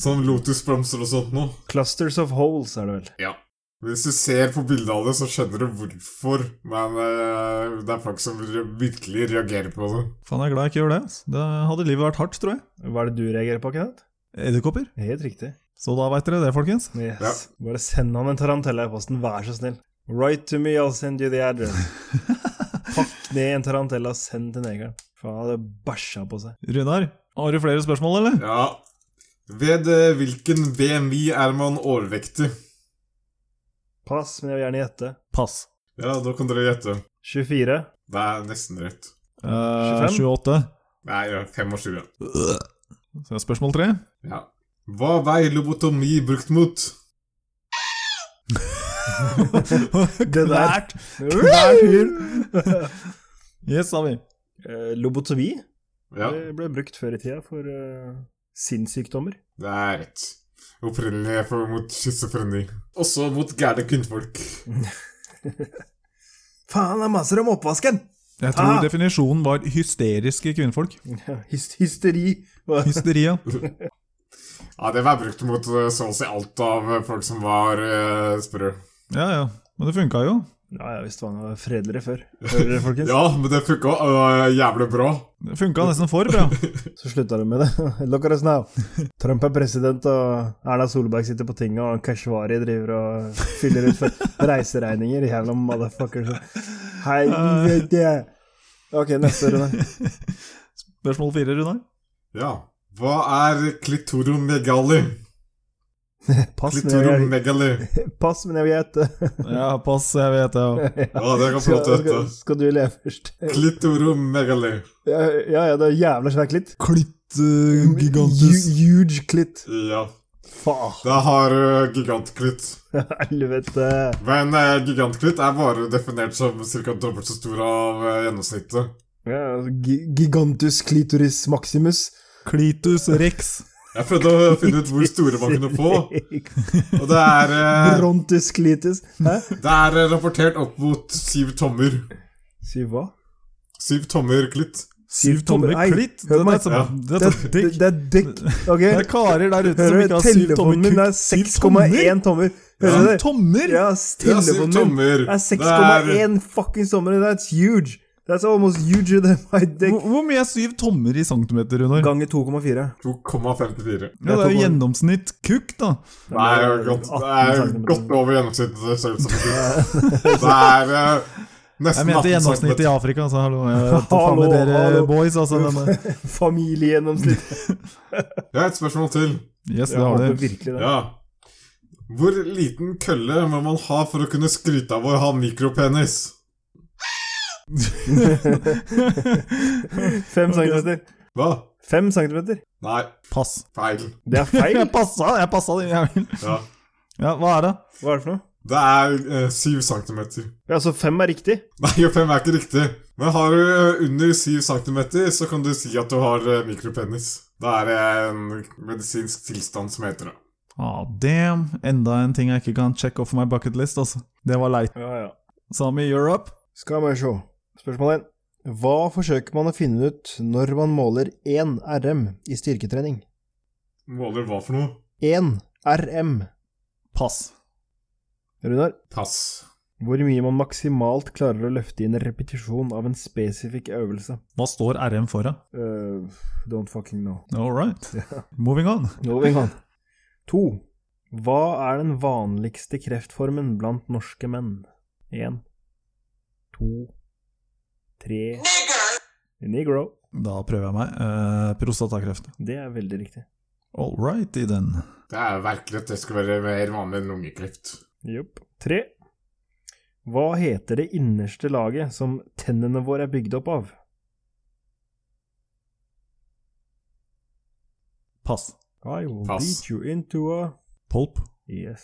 Speaker 1: Sånn lotusblomster og sånt noe.
Speaker 2: Clusters of holes er det vel.
Speaker 1: Hvis du ser på bildet av det, så skjønner du hvorfor, men eh, det er folk som re- virkelig reagerer på det.
Speaker 3: Faen, jeg er glad jeg ikke gjør det. ass. Da hadde livet vært hardt, tror jeg.
Speaker 2: Hva er det du reagerer på, Kenneth?
Speaker 3: Edderkopper.
Speaker 2: Helt riktig.
Speaker 3: Så da veit dere det, folkens.
Speaker 2: Yes.
Speaker 1: Ja.
Speaker 2: Bare send han en tarantella i posten, vær så snill. Write to me, I'll send you the [laughs] address. Pakk ned en tarantella, send til negeren. Faen, han hadde bæsja på seg.
Speaker 3: Runar, har du flere spørsmål, eller?
Speaker 1: Ja. Ved eh, hvilken BMI er man overvektig?
Speaker 2: Pass, men jeg vil gjerne gjette.
Speaker 3: Pass.
Speaker 1: Ja, da kan dere gjette.
Speaker 2: 24.
Speaker 1: Det er nesten rett.
Speaker 3: Eh,
Speaker 2: 25?
Speaker 3: 28.
Speaker 1: Nei, ja, 25.
Speaker 3: Så er spørsmål [laughs] tre.
Speaker 1: Ja. Hva veier lobotomi brukt mot?
Speaker 2: Det der. [laughs]
Speaker 3: Kvært! Kvært fyr! Yes, sa vi.
Speaker 2: Eh, Lobotomi
Speaker 1: Ja,
Speaker 2: det ble brukt før i tida for eh, sinnssykdommer.
Speaker 1: det er rett. Opprinnelig for, mot schizofreni. Også mot gærne kvinnfolk.
Speaker 2: Faen, det er maser om oppvasken!
Speaker 3: Jeg tror
Speaker 2: Ah!
Speaker 3: definisjonen var hysteriske kvinnfolk.
Speaker 2: [laughs] Hys hysteri. [laughs] Hva-
Speaker 3: Hysteria.
Speaker 1: Ja, det var brukt mot eh, så å si alt av eh, folk som var eh, sprø.
Speaker 3: Ja, ja. Men det funka jo.
Speaker 2: Ja, ja, visst var han fredeligere før. Hører dere, folkens?
Speaker 1: Ja, men det funka uh, jævlig bra.
Speaker 3: Det funka nesten for bra.
Speaker 2: Så slutta de med det. [laughs] Look at us
Speaker 1: [laughs]
Speaker 2: now. Trump er president, og Erna Solberg sitter på tinget, og Keshvari driver og fyller
Speaker 1: [laughs]
Speaker 2: ut for reiseregninger. Jævla motherfuckers.
Speaker 1: Ah.
Speaker 2: Helvete! Ok, neste runde.
Speaker 3: Spørsmål fire, Runar.
Speaker 1: Ja. Hva er klittoromegali?
Speaker 2: Pass, men jeg vil-
Speaker 1: Klittoromegali.
Speaker 2: pass, men jeg vil gjette.
Speaker 3: Ja, pass, jeg vet det.
Speaker 1: [laughs] Ja, det kan
Speaker 2: Skal,
Speaker 1: flott hete.
Speaker 2: skal, skal du le først?
Speaker 1: Klittoromegali.
Speaker 2: Ja, ja, ja, det er jævla svær klitt. eh,
Speaker 3: Klittgigantisk.
Speaker 2: Hu- Huge klitt.
Speaker 1: Ja.
Speaker 2: Faen,
Speaker 1: Det har uh, gigantklitt.
Speaker 2: helvete.
Speaker 1: Men eh, gigantklitt er bare definert som ca. dobbelt så stor av eh, gjennomsnittet.
Speaker 2: Ja, gi- gigantus clitoris maximus.
Speaker 3: Klitus rex.
Speaker 1: Jeg prøvde å finne ut hvor store man kunne få, og det er, eh,
Speaker 2: [laughs] Brontus clitus. Hæ?
Speaker 1: det er eh, rapportert opp mot syv tommer.
Speaker 2: Si hva?
Speaker 1: Syv tommer klitt.
Speaker 3: Syv tommer
Speaker 2: Nei,
Speaker 3: klitt? Det
Speaker 2: hør på
Speaker 3: er
Speaker 2: meg.
Speaker 3: som
Speaker 1: Ja.
Speaker 3: det
Speaker 2: Det,
Speaker 3: er som
Speaker 2: det,
Speaker 3: dick.
Speaker 2: det er dekk. Ok?
Speaker 3: Det er karer der ute som
Speaker 2: Hører
Speaker 3: ikke
Speaker 2: du?
Speaker 3: har syv tommer
Speaker 2: Telefonen min er
Speaker 3: klitt. Syv
Speaker 2: 6,1 tommer. Hører du
Speaker 3: Syv
Speaker 2: det?
Speaker 3: tommer?
Speaker 2: Ja,
Speaker 1: Ja, syv
Speaker 2: telefonen min
Speaker 1: tommer.
Speaker 2: er
Speaker 1: Det er-
Speaker 2: 6,1 fucking tommer. That's huge. That's almost huger than my dick.
Speaker 3: Hvor hvor mye er syv tommer i centimeter, Runar?
Speaker 2: Ganger 2,4.
Speaker 1: 2,54.
Speaker 3: Ja, det er jo gjennomsnitt kukk, da.
Speaker 1: Det er jo godt, det er jo
Speaker 2: 18
Speaker 1: godt over gjennomsnittet. ser det ut som. Det er eh,
Speaker 3: Jeg
Speaker 1: nesten
Speaker 3: mente
Speaker 1: 18
Speaker 3: gjennomsnitt i
Speaker 1: centimeter.
Speaker 3: Afrika, så hallo. Jeg vet da faen
Speaker 2: Hallo,
Speaker 3: med dere
Speaker 2: hallo.
Speaker 3: boys, altså. Men,
Speaker 2: Familiegjennomsnitt.
Speaker 1: Ja, et spørsmål til.
Speaker 3: yes,
Speaker 2: Jeg
Speaker 3: det har
Speaker 2: håper
Speaker 3: du.
Speaker 2: virkelig det.
Speaker 1: Ja. Hvor liten kølle må man ha for å kunne skryte av å ha mikropenis?
Speaker 2: 5 centimeter.
Speaker 1: Hva?
Speaker 2: 5 centimeter.
Speaker 1: Nei,
Speaker 3: [laughs] Pass.
Speaker 1: feil.
Speaker 2: Det er
Speaker 3: [laughs]
Speaker 2: feil.
Speaker 3: Jeg passa, jeg passa den jævelen.
Speaker 1: Ja.
Speaker 3: Ja, hva er det?
Speaker 2: Hva er det for noe?
Speaker 1: Det er eh, syv centimeter.
Speaker 2: Ja, så 5 er riktig.
Speaker 1: Nei, [laughs] fem er ikke riktig. Men har du eh, under 7 cm, så kan du si at du har eh, mikropenis. Da er det en medisinsk tilstand som heter det.
Speaker 3: Ah, damn. Enda en ting jeg ikke kan check off my bucket list, altså. Det var leit.
Speaker 2: Ja, ja.
Speaker 3: Sami Europe.
Speaker 2: Skal vi se. Spørsmål 1. Hva forsøker man å finne ut når man måler 1 RM i styrketrening?
Speaker 1: Måler hva for noe?
Speaker 2: 1 RM.
Speaker 3: Pass.
Speaker 2: Runar,
Speaker 1: Pass.
Speaker 2: hvor mye man maksimalt klarer å løfte i en repetisjon av en spesifikk øvelse?
Speaker 3: Hva står RM for, da?
Speaker 2: Uh, don't fucking know.
Speaker 3: All right. Moving on.
Speaker 2: Moving [laughs] on. 2. Hva er den vanligste kreftformen blant norske menn? 1, 2, 3 Negro.
Speaker 3: Da prøver jeg meg. Eh, prostatakreft.
Speaker 2: Det er veldig riktig.
Speaker 3: All right, i den.
Speaker 1: Det er virkelig at det skal være mer vanlig enn lungekreft.
Speaker 2: Jopp. Tre. Hva heter det innerste laget som tennene våre er bygd opp av?
Speaker 3: Pass.
Speaker 2: I will
Speaker 1: Pass.
Speaker 2: beat you into a
Speaker 3: Polp.
Speaker 2: Yes.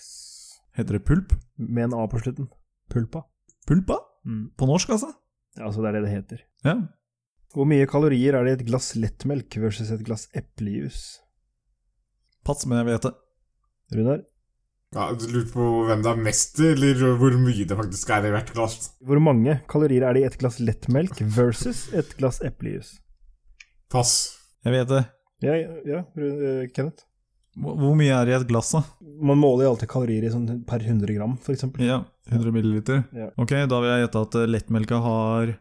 Speaker 3: Heter det pulp?
Speaker 2: Med en A på slutten. Pulpa.
Speaker 3: Pulpa?
Speaker 2: Mm.
Speaker 3: På norsk, altså?
Speaker 2: Altså, det er det det heter.
Speaker 3: Ja.
Speaker 2: Hvor mye kalorier er det i et glass lettmelk versus et glass eplejus?
Speaker 3: Pass, men jeg vet det.
Speaker 2: Runar,
Speaker 1: Ja, du lurer på hvem det er mest til, eller hvor mye det faktisk er i hvert glass.
Speaker 2: Hvor mange kalorier er det i et glass lettmelk versus et glass eplejus?
Speaker 1: Pass.
Speaker 3: Jeg vet det.
Speaker 2: Ja, ja, eh, Kenneth?
Speaker 3: Hvor hvor mye er i et glass, da?
Speaker 2: Man måler jo alltid kalorier i sånn per 100 gram, for eksempel.
Speaker 3: Ja, 100 milliliter.
Speaker 2: Ja.
Speaker 3: Ok, da vil jeg gjette at eh, lettmelka har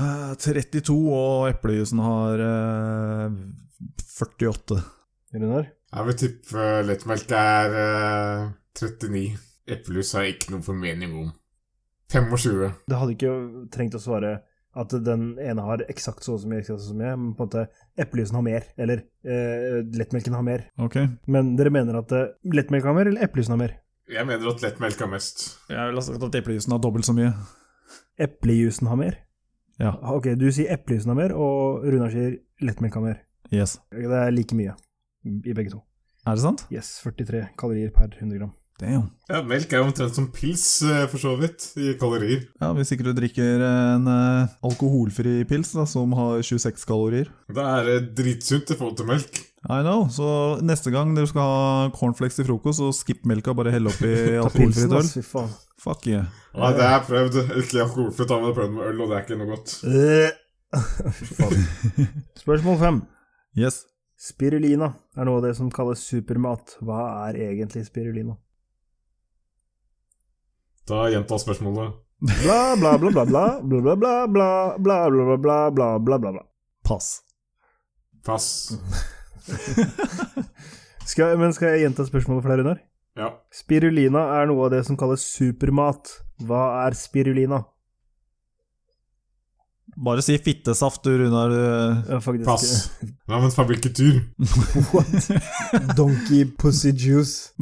Speaker 3: eh, 32, og eplejusen har eh, 48.
Speaker 2: Runar?
Speaker 1: Jeg vil tippe eh, lettmelk er eh, 39. Eplejus har jeg ikke noen formening om. 25.
Speaker 2: Det hadde ikke trengt å svare at den ene har eksakt så og så mye, eksakt så og så mye, men på en måte eplejusen har mer, eller eh, lettmelken har mer.
Speaker 3: Ok.
Speaker 2: Men dere mener at eh, lettmelken har mer, eller eplejusen har mer?
Speaker 1: Jeg mener at lettmelk har mest.
Speaker 3: Jeg vil ha sagt at eplejusen har dobbelt så mye.
Speaker 2: Eplejusen har mer?
Speaker 3: Ja.
Speaker 2: Ok, du sier eplejusen har mer, og Runar sier lettmelk har mer.
Speaker 3: Yes.
Speaker 2: Ok, Det er like mye i begge to.
Speaker 3: Er det sant?
Speaker 2: Yes, 43 kalorier per 100 gram.
Speaker 3: Damn.
Speaker 1: Ja, melk er jo omtrent som pils, eh, for så vidt, i kalorier.
Speaker 3: Ja, hvis ikke du drikker en eh, alkoholfri pils da, som har 26 kalorier.
Speaker 1: Det er eh, dritsunt i forhold til melk.
Speaker 3: I know, så neste gang dere skal ha cornflakes til frokost, så skipp melka, bare hell oppi
Speaker 2: Ta
Speaker 3: alkoholfritt
Speaker 2: pilsen,
Speaker 3: øl.
Speaker 2: ass, fy faen.
Speaker 3: Fuck yeah.
Speaker 1: Ja, det har jeg prøvd. Ikke alkoholfritt, da, men jeg har prøvd med øl, og det er ikke noe godt.
Speaker 2: Eh. [laughs] Fy faen. Spørsmål fem.
Speaker 3: Yes.
Speaker 2: Spirulina er noe av det som kalles supermat. Hva er egentlig spirulina?
Speaker 1: Da gjenta spørsmålet.
Speaker 2: Bla, bla, bla, bla, bla, bla, bla, bla, bla, bla, bla, bla, bla, bla, bla, bla, bla.
Speaker 3: Pass.
Speaker 1: Pass.
Speaker 2: Skal, men skal jeg gjenta spørsmålet for deg, Runar?
Speaker 1: Ja.
Speaker 2: Spirulina er noe av det som kalles supermat. Hva er spirulina?
Speaker 3: Bare si fittesaft, du, Runar. eh, du-
Speaker 2: Ja, faktisk.
Speaker 1: Pass. Nei, men fabrikketur.
Speaker 2: Donkey pussy juice.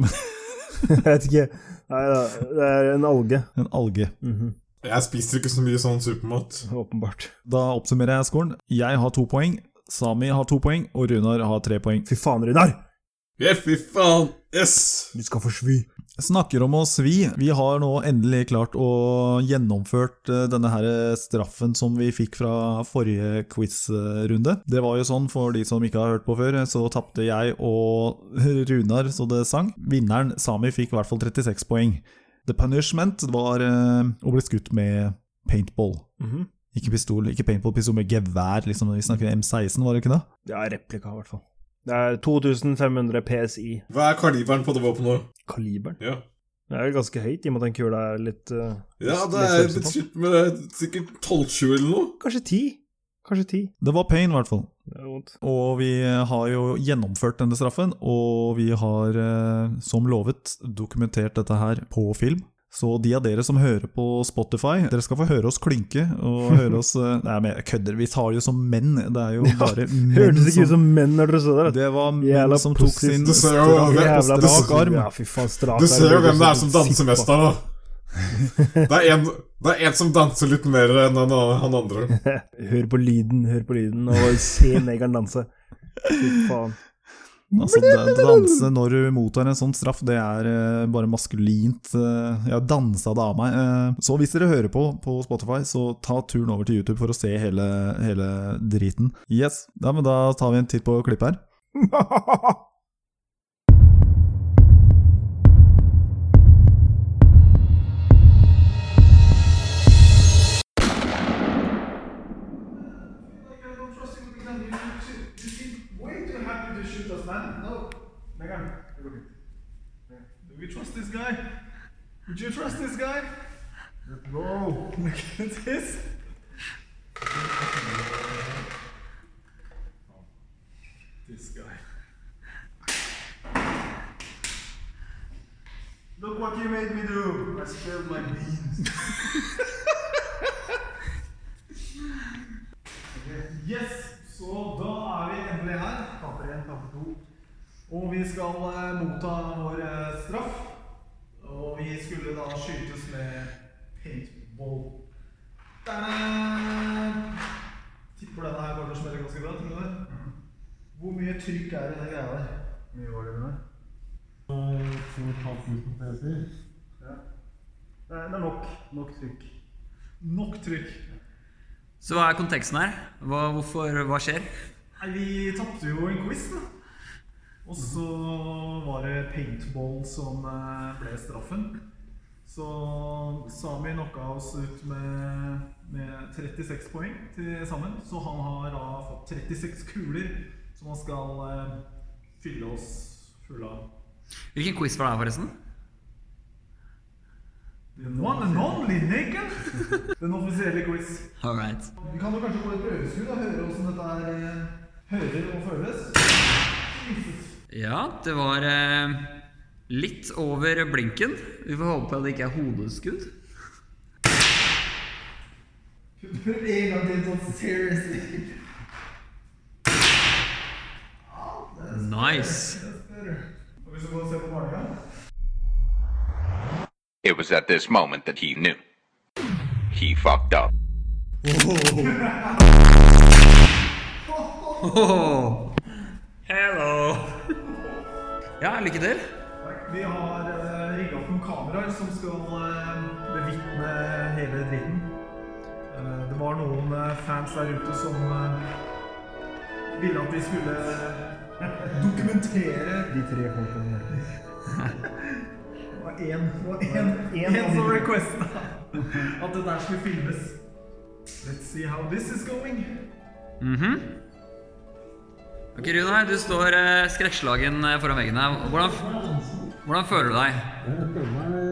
Speaker 2: jeg vet ikke. Nei da, det er en alge.
Speaker 3: En alge.
Speaker 2: Mhm,
Speaker 1: Jeg spiser ikke så mye sånn supermat.
Speaker 2: Åpenbart.
Speaker 3: Da oppsummerer jeg skolen. Jeg har to poeng, Sami har to poeng, og Runar har tre poeng.
Speaker 2: Fy faen, Runar!
Speaker 1: Ja, fy faen! Yes!
Speaker 2: Du skal få svi.
Speaker 3: Snakker om å svi. Vi har nå endelig klart å gjennomført eh, denne her straffen som vi fikk fra forrige quiz-runde. Det var jo sånn, for de som ikke har hørt på før, så tapte jeg og [laughs] Runar så det sang. Vinneren, Sami, fikk i hvert fall 36 poeng. The punishment var eh, å bli skutt med paintball.
Speaker 2: Mhm.
Speaker 3: Ikke pistol, ikke paintball, pistol med gevær, liksom. Vi snakker M16, var det ikke det?
Speaker 2: Ja, replika, i hvert fall. Det er 2500 PSI.
Speaker 1: Hva er kaliberen på det våpenet?
Speaker 2: Kaliberen.
Speaker 1: Ja.
Speaker 2: Det er jo ganske høyt, i og med at den kula er litt eh,
Speaker 1: ja, det
Speaker 2: Litt
Speaker 1: er
Speaker 2: størrelse
Speaker 1: litt
Speaker 2: på.
Speaker 1: slutt med det. Sikkert 12-20 eller noe.
Speaker 2: Kanskje ti? Kanskje ti.
Speaker 3: Det var pain, i hvert fall.
Speaker 2: Det er vondt.
Speaker 3: Og vi har jo gjennomført denne straffen, og vi har, eh, som lovet, dokumentert dette her på film. Så de av dere som hører på Spotify, dere skal få høre oss klynke
Speaker 2: [laughs]
Speaker 3: og høre oss eh, Nei, men jeg kødder, vi tar jo som menn. Det er jo bare menn
Speaker 2: Hørtes ikke ut som menn når dere så der.
Speaker 3: Det var menn
Speaker 2: Jævla
Speaker 3: som tok
Speaker 2: pussies.
Speaker 3: sin
Speaker 1: Du ser jo
Speaker 3: strake
Speaker 1: hvem-
Speaker 3: på
Speaker 2: Jævla
Speaker 3: strak
Speaker 2: pussy.
Speaker 3: arm.
Speaker 2: Ja, fy faen, strak
Speaker 1: Du ser jo
Speaker 2: arm. sånn
Speaker 1: hvem det er som danser mest [laughs] her, da. Det er en, det er en som danser litt mer enn han, han andre.
Speaker 2: [laughs] Hør på lyden, hør på lyden, og se negeren danse. Fy
Speaker 1: [laughs]
Speaker 2: faen.
Speaker 3: Altså, det- det danse når du mottar en sånn straff, det er eh, bare maskulint. eh, jeg har dansa det av meg. eh. så hvis dere hører på på Spotify, så ta turen over til YouTube for å se hele, hele driten. Yes, ja, men Da tar vi en titt på klippet her.
Speaker 4: Like, I don't trust him with the gun. You, you seem way too happy to shoot us, man. No. Megan, look at Do we trust this guy? Would you trust this guy? No. Look at this. This guy. Look what you made me do! I spilled my beans. [laughs] Yes! Så da er vi endelig her. Tapper én, tapper to. Og vi skal eh, motta vår eh, straff. Og vi skulle da skytes med paintball. Da-da! Tipper denne her kommer til å smelle ganske bra, tror du det? Hvor mye trykk er det i den greia der? Mm. Mye var det med det? 2500 PSI. Ja. Det er det er Eh, nok. Nok trykk. Nok trykk.
Speaker 5: Så hva er konteksten her? Hva, hvorfor, hva skjer?
Speaker 4: Nei, vi tapte jo en quiz, da. Og så var det paintball som eh, ble straffen. Så Sami knocka oss ut med, med 36 poeng til sammen. Så han har da fått 36 kuler som han skal eh, fylle oss fulle av.
Speaker 5: Hvilken quiz var det her, forresten?
Speaker 4: Den one and only, Nicken! [laughs] Den offisielle quiz.
Speaker 5: All right.
Speaker 4: Vi kan jo kanskje få et prøveskudd og høre hvordan dette er eh, hører og føles. Jesus.
Speaker 5: Ja, det var eh, litt over blinken. Vi får håpe at det ikke er [laughs] hodeskudd.
Speaker 4: Prøv en gang til sånn seriously.
Speaker 5: Nice.
Speaker 4: Og hvis du går og ser på barnehagen
Speaker 6: It was at this moment that he knew. He fucked up.
Speaker 5: [laughs] Oh. Hello. Ja, lykke til.
Speaker 4: Vi har uh, rigga opp noen kameraer som skal eh, bevitne hele dritten. Eh, det var noen eh, fans der ute som eh, ville at vi skulle eh, [laughs] dokumentere
Speaker 2: De tre folkene.
Speaker 4: Det var én det var én- én som requesta [laughs] at det der skulle filmes. Let's see how this is going.
Speaker 5: Mhm. Ok, Runar, du står eh, skrekkslagen eh, foran veggen her. Hvordan, hvordan føler du deg?
Speaker 1: Jeg føler meg eh,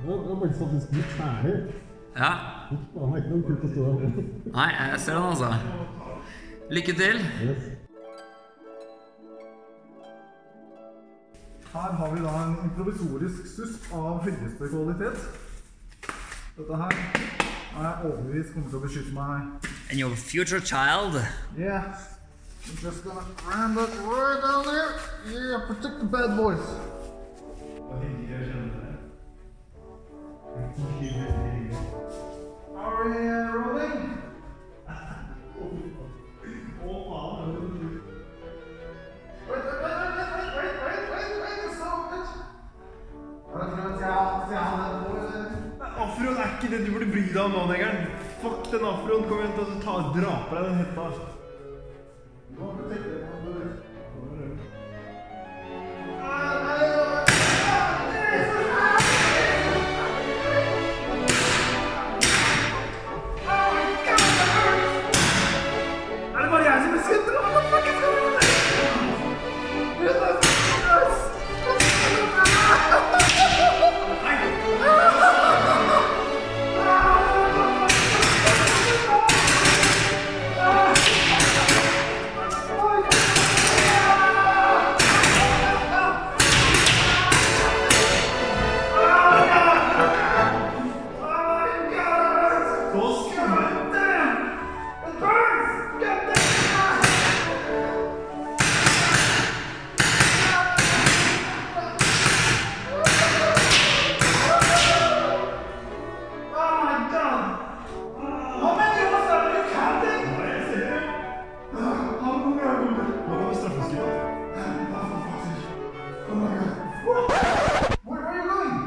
Speaker 1: Det var faktisk faktisk litt ferdig.
Speaker 5: Ja?
Speaker 1: Det var ikke noe kult å stå her.
Speaker 5: Nei, jeg ser den, altså. Lykke til.
Speaker 4: Her har vi da en improvisorisk susp av høyeste kvalitet. Dette her er jeg overbevist kommer til å beskytte meg her.
Speaker 5: And your future child.
Speaker 4: Yeah. I'm just gonna ram that right down there. Yeah, protect the bad boys. Are we uh, rolling? Wait, wait, wait, wait, wait, wait, wait, wait, wait, it's so much. Afroen er ikke det du burde bry deg om nå, Negeren. Fuck den afroen. Kom igjen, ta, ta, dra på deg den hetta. Er det bare jeg som er skutt, eller hva fuck er det? Ah!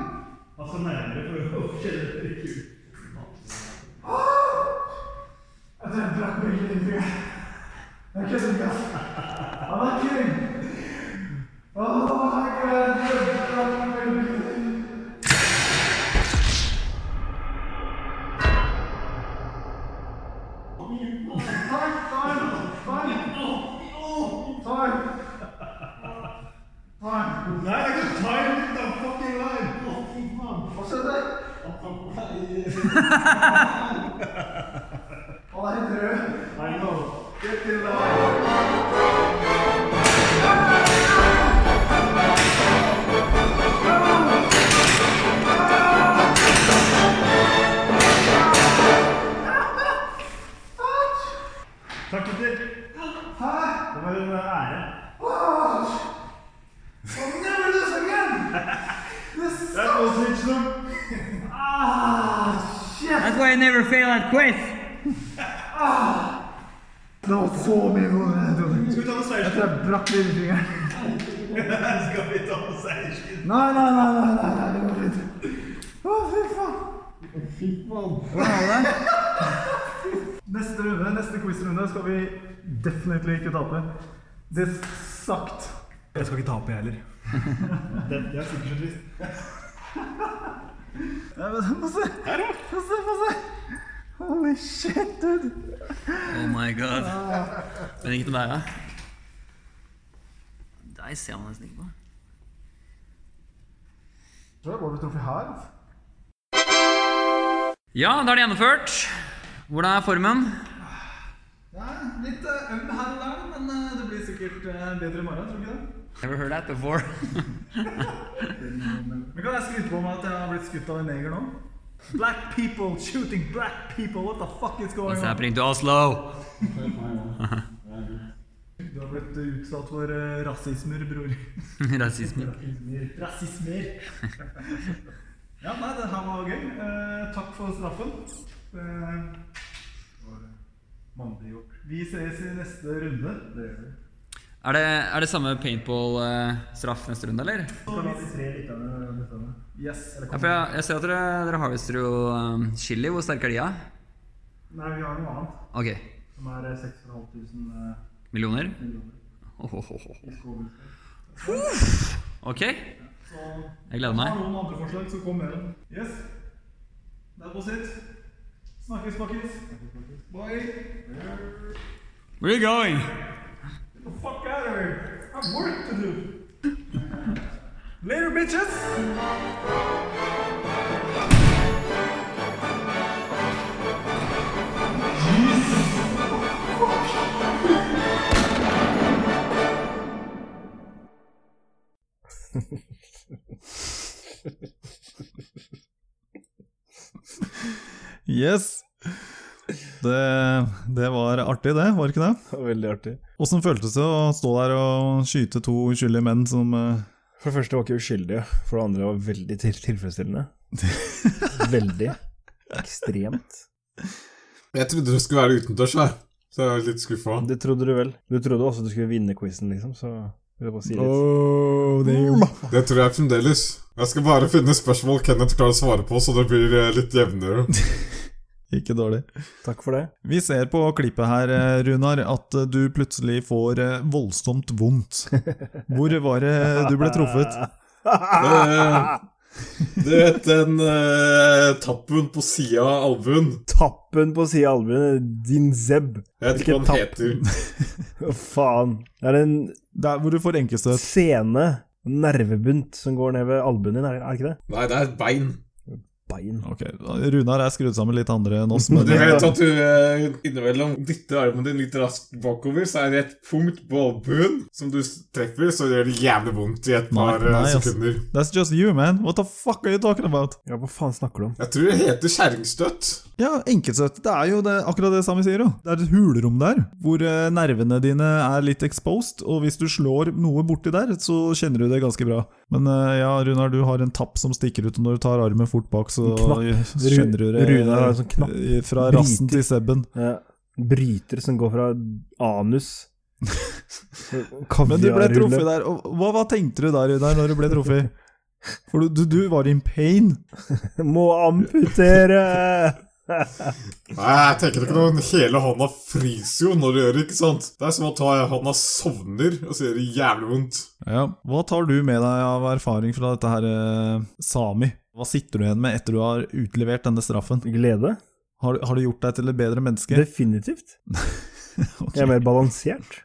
Speaker 2: Takk, gutter. Det var en ære. That was it, Snoop.
Speaker 5: That's why I never fail at quiz.
Speaker 4: Det var så mye vondt. jeg tror.
Speaker 2: Skal vi ta noen
Speaker 4: Jeg
Speaker 2: seierskinn?
Speaker 4: tror jeg brakk lillefingeren.
Speaker 2: Skal vi ta noen seierskinn?
Speaker 4: Nei, nei, nei, nei, nei, nei, det går fint. Å, fy faen. Neste runde, neste quizrunde skal vi definitivt ikke tape. This Eksakt. Jeg skal ikke tape, jeg heller. det, det er sikkert så trist. Nei, men Få se! Få se, få se! Holy shit, dude!
Speaker 5: Oh my god. Men ikke til deg, da? Deg ser man nesten ikke på.
Speaker 4: Tror jeg bare ble truffet her. altså.
Speaker 5: Ja, da er det gjennomført. Hvordan er formen?
Speaker 4: Ja, litt eh, øm her og der, men eh, det blir sikkert eh, bedre i morgen, tror du ikke det?
Speaker 5: Never heard that before. [laughs]
Speaker 4: Men kan jeg skryte på meg at jeg har blitt skutt av en neger nå? Black people shooting black people, what the fuck is going
Speaker 5: Så
Speaker 4: on?
Speaker 5: Altså, jeg to Oslo.
Speaker 4: Du har blitt eh, utsatt for eh, rasismer, bror.
Speaker 5: [laughs] Rasisme.
Speaker 4: Rasismer. [laughs] ja, nei, det her var gøy. Eh, takk for straffen. Eh, vi ses i neste runde. Det gjør vi.
Speaker 5: Er det, er det samme paintball-straff neste runde, eller?
Speaker 4: Så kan de tre lytterne bestemme. Yes.
Speaker 5: Ja, for jeg, jeg ser at dere, dere harvester jo um, chili. Hvor sterk er de, da?
Speaker 4: Nei, vi har noe annet
Speaker 5: Ok.
Speaker 4: som er eh, 6500
Speaker 5: Millioner?
Speaker 4: millioner
Speaker 5: Ohohoho.
Speaker 4: i skogen.
Speaker 5: Ok. Jeg
Speaker 4: Så
Speaker 5: gleder
Speaker 4: Har
Speaker 5: meg.
Speaker 4: noen andre forslag, så kom med dem. Yes. Det er på sitt. Snakkes, snakkes. Bye.
Speaker 5: Where are you going?
Speaker 4: Get the fuck out of here. I have work to do. Later, bitches!
Speaker 3: Yes! Det, det var artig, det, var ikke det?
Speaker 2: Det var veldig artig.
Speaker 3: Åssen føltes det å stå der og skyte to uskyldige menn som eh,
Speaker 2: For det første var ikke uskyldige, for det andre var veldig til
Speaker 1: [laughs]
Speaker 2: tilfredsstillende. veldig. Ekstremt.
Speaker 1: Jeg trodde det skulle være utendørs, jeg. Så jeg var litt skuffa.
Speaker 2: Det trodde du vel. Du trodde også du skulle vinne quizen, liksom, så vil jeg bare si litt.
Speaker 3: oh,
Speaker 1: Det tror jeg fremdeles. Jeg skal bare finne spørsmål Kenneth klarer å svare på, så det blir eh, litt [laughs] jevnere.
Speaker 3: Ikke dårlig.
Speaker 2: Takk for det.
Speaker 3: Vi ser på klippet her, eh, Runar, at eh, du plutselig får eh, voldsomt vondt. Hvor var det du ble truffet?
Speaker 2: [laughs]
Speaker 1: Det- eh, Du vet den eh, tappen på sida av albuen?
Speaker 2: Tappen på sida av albuen, din zeb.
Speaker 1: Jeg vet ikke hva
Speaker 2: Hvilken
Speaker 1: den
Speaker 2: tapp?
Speaker 1: heter.
Speaker 2: Å, faen. Det er en
Speaker 3: Der hvor du får enkestøt.
Speaker 2: sene nervebunt som går ned ved albuen din, er er det ikke det?
Speaker 1: Nei, det er et bein.
Speaker 2: Bein.
Speaker 3: Ok, Runar er skrudd sammen litt andre enn oss, men
Speaker 1: Du vet at du eh, innimellom dytter armen din litt raskt bakover, så er det et punkt på albuen som du s- treffer, så gjør det jævlig vondt i et
Speaker 3: Nei,
Speaker 1: par eh,
Speaker 3: nei, ass.
Speaker 1: sekunder.
Speaker 3: That's just you, man. What the fuck are you talking about?
Speaker 2: Ja, hva faen snakker du om?
Speaker 1: Jeg tror det heter kjerringstøtt.
Speaker 3: Ja, enkestøt. Det er jo det, akkurat det samme sier, jo. Det er et hulrom der, hvor eh, nervene dine er litt exposed, og hvis du slår noe borti der, så kjenner du det ganske bra. Men eh, ja, Runar, du har en tapp som stikker ut, og når du tar armen fort bak, så
Speaker 2: En knapp.
Speaker 3: så kjenner du det
Speaker 2: Runar har en sånn knapp.
Speaker 3: eh, fra rassen til sebben.
Speaker 2: Ja. Bryter som går fra anus
Speaker 3: [laughs] Men du ble truffet
Speaker 2: Kaviarrulle.
Speaker 3: der, og hva, hva tenkte du der, Runar, når du ble truffet? For du, du, du var in pain.
Speaker 2: Må amputere!
Speaker 1: Nei, jeg tenker ikke noe. Hele hånda fryser jo når du gjør det, ikke sant? Det er som å ta hånda sovner, og så gjør det jævlig vondt.
Speaker 3: Ja. Hva tar du med deg av erfaring fra dette her, eh, Sami? Hva sitter du igjen med etter du har utlevert denne straffen?
Speaker 2: Glede?
Speaker 3: Har, du- har du gjort deg til et bedre menneske?
Speaker 2: Definitivt.
Speaker 3: Ok.
Speaker 2: Jeg er mer balansert.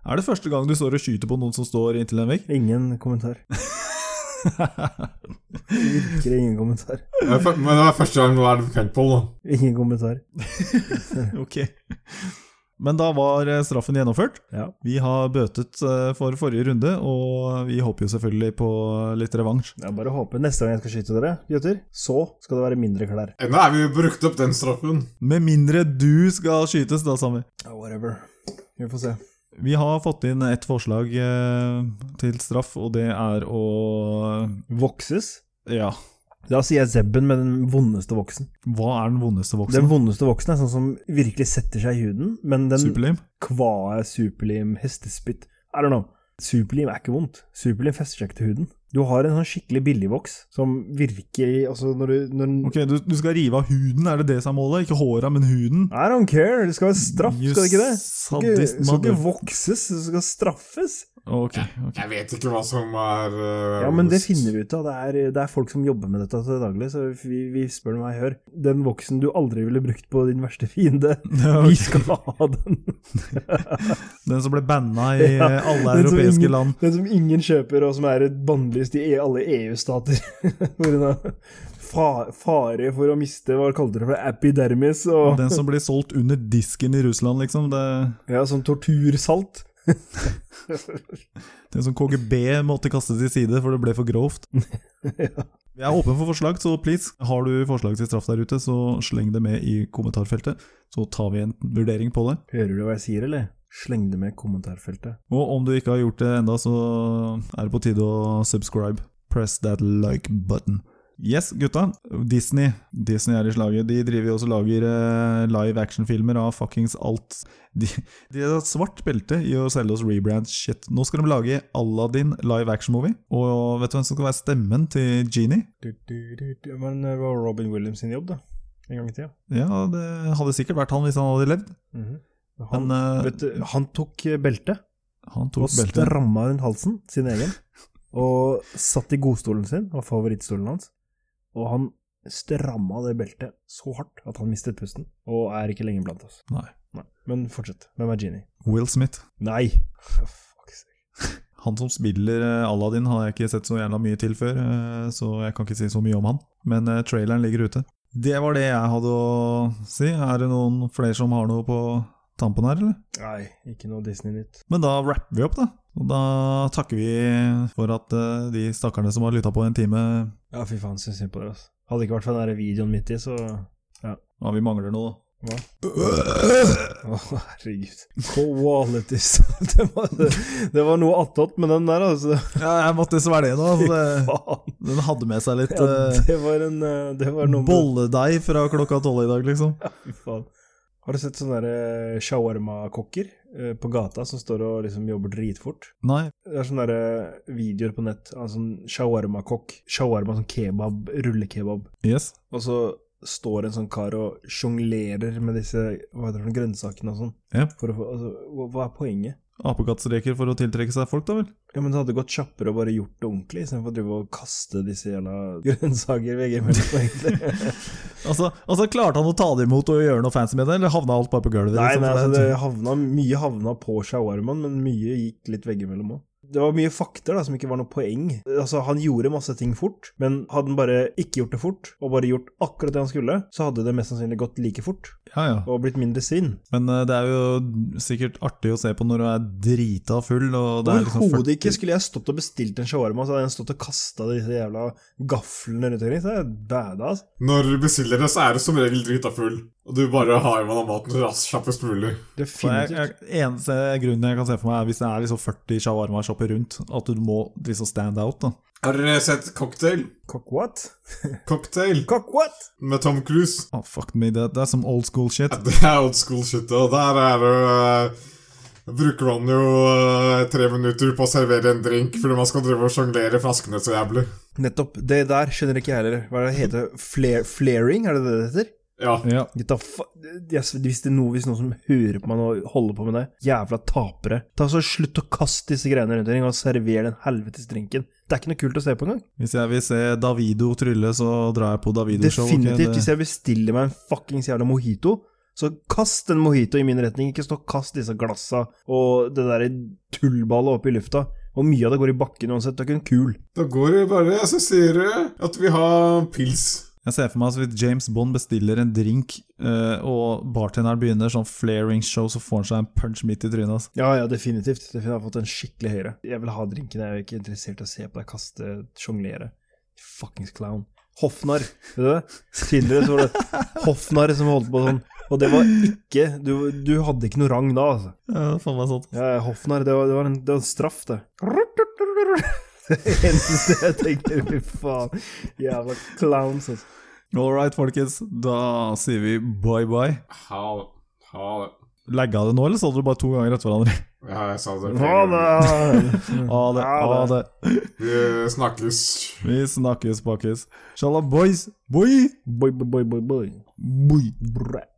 Speaker 3: Er det første gang du står og skyter på noen som står inntil en vegg?
Speaker 2: Ingen
Speaker 3: [laughs]
Speaker 2: kommentar. Virkelig ingen kommentar.
Speaker 1: Det er fø- Men det er første gang nå er det paintball, da.
Speaker 2: Ingen kommentar.
Speaker 3: ok. Men da var eh, straffen gjennomført.
Speaker 2: Ja.
Speaker 3: Vi har bøtet eh, for forrige runde, og vi håper jo selvfølgelig på litt revansj.
Speaker 2: Jeg bare håper neste gang jeg skal skyte dere, gutter, så skal det være mindre klær.
Speaker 1: Ennå er vi jo brukt opp den straffen.
Speaker 3: Med mindre du skal skytes, da, Sami.
Speaker 2: Ja, whatever. Vi får se.
Speaker 3: Vi har fått inn et forslag eh, til straff, og det er å
Speaker 2: Vokses?
Speaker 3: Ja.
Speaker 2: Da sier jeg Zebben med den vondeste voksen.
Speaker 3: Hva er den vondeste voksen?
Speaker 2: Den vondeste voksen er sånn som virkelig setter seg i huden, men den
Speaker 3: Superlim?
Speaker 2: kvae superlim hestespytt I don't know. Superlim er ikke vondt. Superlim fester seg ikke til huden. Du har en sånn skikkelig billigvoks som virker altså når du når den,
Speaker 3: Ok, du, du skal rive av huden, er det det som er målet? Ikke håra, men huden?
Speaker 2: I don't care! Det skal være straff, skal det ikke det?
Speaker 3: You
Speaker 2: Det skal ikke-
Speaker 3: sadist
Speaker 2: det skal ikke
Speaker 3: mother...
Speaker 2: vokses, det skal straffes.
Speaker 3: Ok. ok.
Speaker 1: Jeg vet ikke hva som er eh,
Speaker 2: Ja, men det
Speaker 1: best.
Speaker 2: finner vi ut av. Det er, det er folk som jobber med dette til daglig, så vi, vi spør meg, hør. Den voksen du aldri ville brukt på din verste [laughs] fiende,
Speaker 3: Ja, ok.
Speaker 2: vi skal ha den.
Speaker 3: Den som ble banna
Speaker 2: [laughs]
Speaker 3: i eh, alle
Speaker 2: Den som
Speaker 3: europeiske
Speaker 2: ingen-
Speaker 3: land.
Speaker 2: Den som ingen kjøper, og som er et bannlyst i E, alle [laughs] EU-stater. På grunn av fa- fare for å miste, hva kalte dere det, for epidermis, og
Speaker 3: Den som blir solgt under disken i Russland, liksom. Det,
Speaker 2: ja, sånn tortursalt.
Speaker 3: den som KGB måtte kaste til side, for det ble for
Speaker 2: [laughs]
Speaker 3: grovt. Vi er åpne for forslag, så please, har du forslag til straff der ute, så sleng det med i kommentarfeltet. Så tar vi en vurdering på det.
Speaker 2: Hører du hva jeg sier, eller? Sleng det med i kommentarfeltet.
Speaker 3: Og om du ikke har gjort det enda, så er det på tide å subscribe. Press that like button. Yes, gutta. Disney Disney er i slaget. De driver jo også og lager eh, live action-filmer av fuckings alt. De, de har et svart belte i å selge oss rebrand shit. Nå skal de lage Aladdin live action-movie. Og vet du hvem som skal være stemmen til Genie?
Speaker 2: Du, du, du, du. Men det var Robin Williams sin jobb, da. En gang i tida.
Speaker 3: Ja, det hadde sikkert vært han hvis han hadde levd.
Speaker 2: Mhm. Han,
Speaker 3: Men eh,
Speaker 2: vet du, han tok eh, beltet
Speaker 3: han
Speaker 2: og
Speaker 3: tok beltet.
Speaker 2: stramma rundt halsen, sin egen, og satt i godstolen sin, var favorittstolen hans, og han stramma det beltet så hardt at han mistet pusten, og er ikke lenger blant oss.
Speaker 3: Nei.
Speaker 2: Nei. Men fortsett. Hvem er Genie?
Speaker 3: Will Smith.
Speaker 2: Nei! [laughs] Fuck sake.
Speaker 3: Han som spiller eh, Aladdin har jeg ikke sett så jævla mye til før, eh, så jeg kan ikke si så mye om han. Men eh, traileren ligger ute. Det var det jeg hadde å si. Er det noen flere som har noe på tampen her, eller?
Speaker 2: Nei, ikke noe Disney-nytt.
Speaker 3: Men da rapper vi opp, da. Og da takker vi for at eh, de stakkarene som har lytta på en time
Speaker 2: Ja, fy faen, syns synd på dere, altså. Hadde det ikke vært for den der videoen midt i, så
Speaker 3: Ja, vi mangler noe.
Speaker 2: Hva? Å, herregud. Quality [laughs] sound. Det var, det var noe attåt med den der, altså. [laughs]
Speaker 3: Ja, jeg måtte svelge nå.
Speaker 2: Fy [laughs]
Speaker 3: så det-
Speaker 2: faen.
Speaker 3: Den hadde med seg litt
Speaker 2: Ja,
Speaker 3: eh,
Speaker 2: det var en eh, Det var noe med-
Speaker 3: bolledeig fra klokka tolv i dag, liksom.
Speaker 2: Fy faen. Har du sett sånne der, eh, shawarma-kokker eh, på gata som står og liksom jobber dritfort?
Speaker 3: Nei.
Speaker 2: Det er sånne der, eh, videoer på nett av sånn shawarma-kokk. Shawarma sånn kebab, rullekebab.
Speaker 3: Yes.
Speaker 2: Og så står en sånn kar og sjonglerer med disse hva heter det, for noe, grønnsakene og sånn.
Speaker 3: Ja.
Speaker 2: For å få, altså, hva- hva er poenget?
Speaker 3: Apekattstreker for å tiltrekke seg folk, da vel?
Speaker 2: Ja, men det hadde gått kjappere å bare gjort det ordentlig, istedenfor å drive og kaste disse jævla grønnsaker veggimellom, egentlig.
Speaker 3: Altså, altså Klarte han å ta det imot og gjøre noe fancy med det, eller havna alt bare på gulvet?
Speaker 2: nei,
Speaker 3: liksom,
Speaker 2: nei,
Speaker 3: for
Speaker 2: altså,
Speaker 3: det-
Speaker 2: det havna, mye havna på shawarmaen, men mye gikk litt veggimellom òg. Det var mye fakter da, som ikke var noe poeng. Altså, Han gjorde masse ting fort, men hadde han bare ikke gjort det fort, og bare gjort akkurat det han skulle, så hadde det mest sannsynlig gått like fort,
Speaker 3: Ja, ja.
Speaker 2: og blitt mindre svinn.
Speaker 3: Men eh, det er jo sikkert artig å se på når du er drita full. Og det er liksom
Speaker 2: Overhodet
Speaker 3: 40
Speaker 2: ikke. Skulle jeg stått og bestilt en shawarma, så hadde jeg stått og kasta disse jævla gaflene rundt omkring. Så er jeg badass.
Speaker 1: Når du bestiller det, så er du som regel drita full. Og du bare har i vann av maten raskt kjappest mulig.
Speaker 3: Så jeg,
Speaker 2: Definitivt.
Speaker 3: jeg, eneste grunnen jeg kan se for meg, er hvis det er liksom 40 shawarma-shopper rundt. At du må liksom stand out. da
Speaker 1: Har dere sett Cocktail?
Speaker 2: Cock what?
Speaker 1: Cocktail
Speaker 2: Cock what?
Speaker 1: med Tom Cruise.
Speaker 3: Ah, Fuck me, det, det er som old school shit.
Speaker 1: Ja, Det er old school shit, og der er det øh, Bruker han jo øh, tre minutter på å servere en drink fordi man skal drive og sjonglere flaskene så jævlig.
Speaker 2: Nettopp. Det der skjønner ikke jeg heller. Hva er det det heter Flare, Flaring, er det det det heter?
Speaker 1: Ja.
Speaker 3: Ja.
Speaker 2: Gutta, fa- jeg s- hvis det er noe, hvis noen som hører på meg nå og holder på med det, jævla tapere. Ta så Slutt å kaste disse greiene rundt omkring og server den helvetes drinken. Det er ikke noe kult å se på engang.
Speaker 3: Hvis jeg vil se Davido trylle, så drar jeg på Davido-show. ok?
Speaker 2: Definitivt. Hvis
Speaker 3: Det-
Speaker 2: jeg bestiller meg en fuckings jævla mojito, så kast en mojito i min retning. Ikke stå og kast disse glassa og det derre tullballet opp i lufta. Og mye av det går i bakken uansett. Du er ikke en kul.
Speaker 1: Da går det bare, så sier du at vi har pils.
Speaker 3: Jeg ser for meg altså, hvis James Bond bestiller en drink, eh, og bartenderen begynner sånn flaring show, så får han seg en punch midt i trynet. altså. ass.
Speaker 2: Ja, ja, definitivt. Det har fått en skikkelig høyre. Jeg vil ha drinken, jeg er ikke interessert i å se på deg kaste, sjonglere. Fuckings clown. Hofnar, vet du det? Tidligere så var det Hofnar som holdt på sånn. Og det var ikke Du, du hadde ikke noe rang da, altså.
Speaker 3: Ja, faen meg sånn.
Speaker 2: Ja, Hofnar, det var, det var, en, det var en straff, det. [laughs] Det eneste jeg tenkte, fy faen. Jævla clowns, altså.
Speaker 3: All right, folkens. Da sier vi bye bye.
Speaker 1: Ha det. Ha det.
Speaker 3: Lagga det nå, eller sa du bare to ganger etter [laughs] hverandre?
Speaker 1: Ja, jeg sa det.
Speaker 2: Ha det!
Speaker 3: Ha det. Ha
Speaker 2: Ha
Speaker 3: det.
Speaker 1: Vi snakkes.
Speaker 3: Vi snakkes, pakkes. Shalabais. Boy.
Speaker 2: Boy, boy, boy, boy, boy.
Speaker 3: Boy.
Speaker 2: Bra.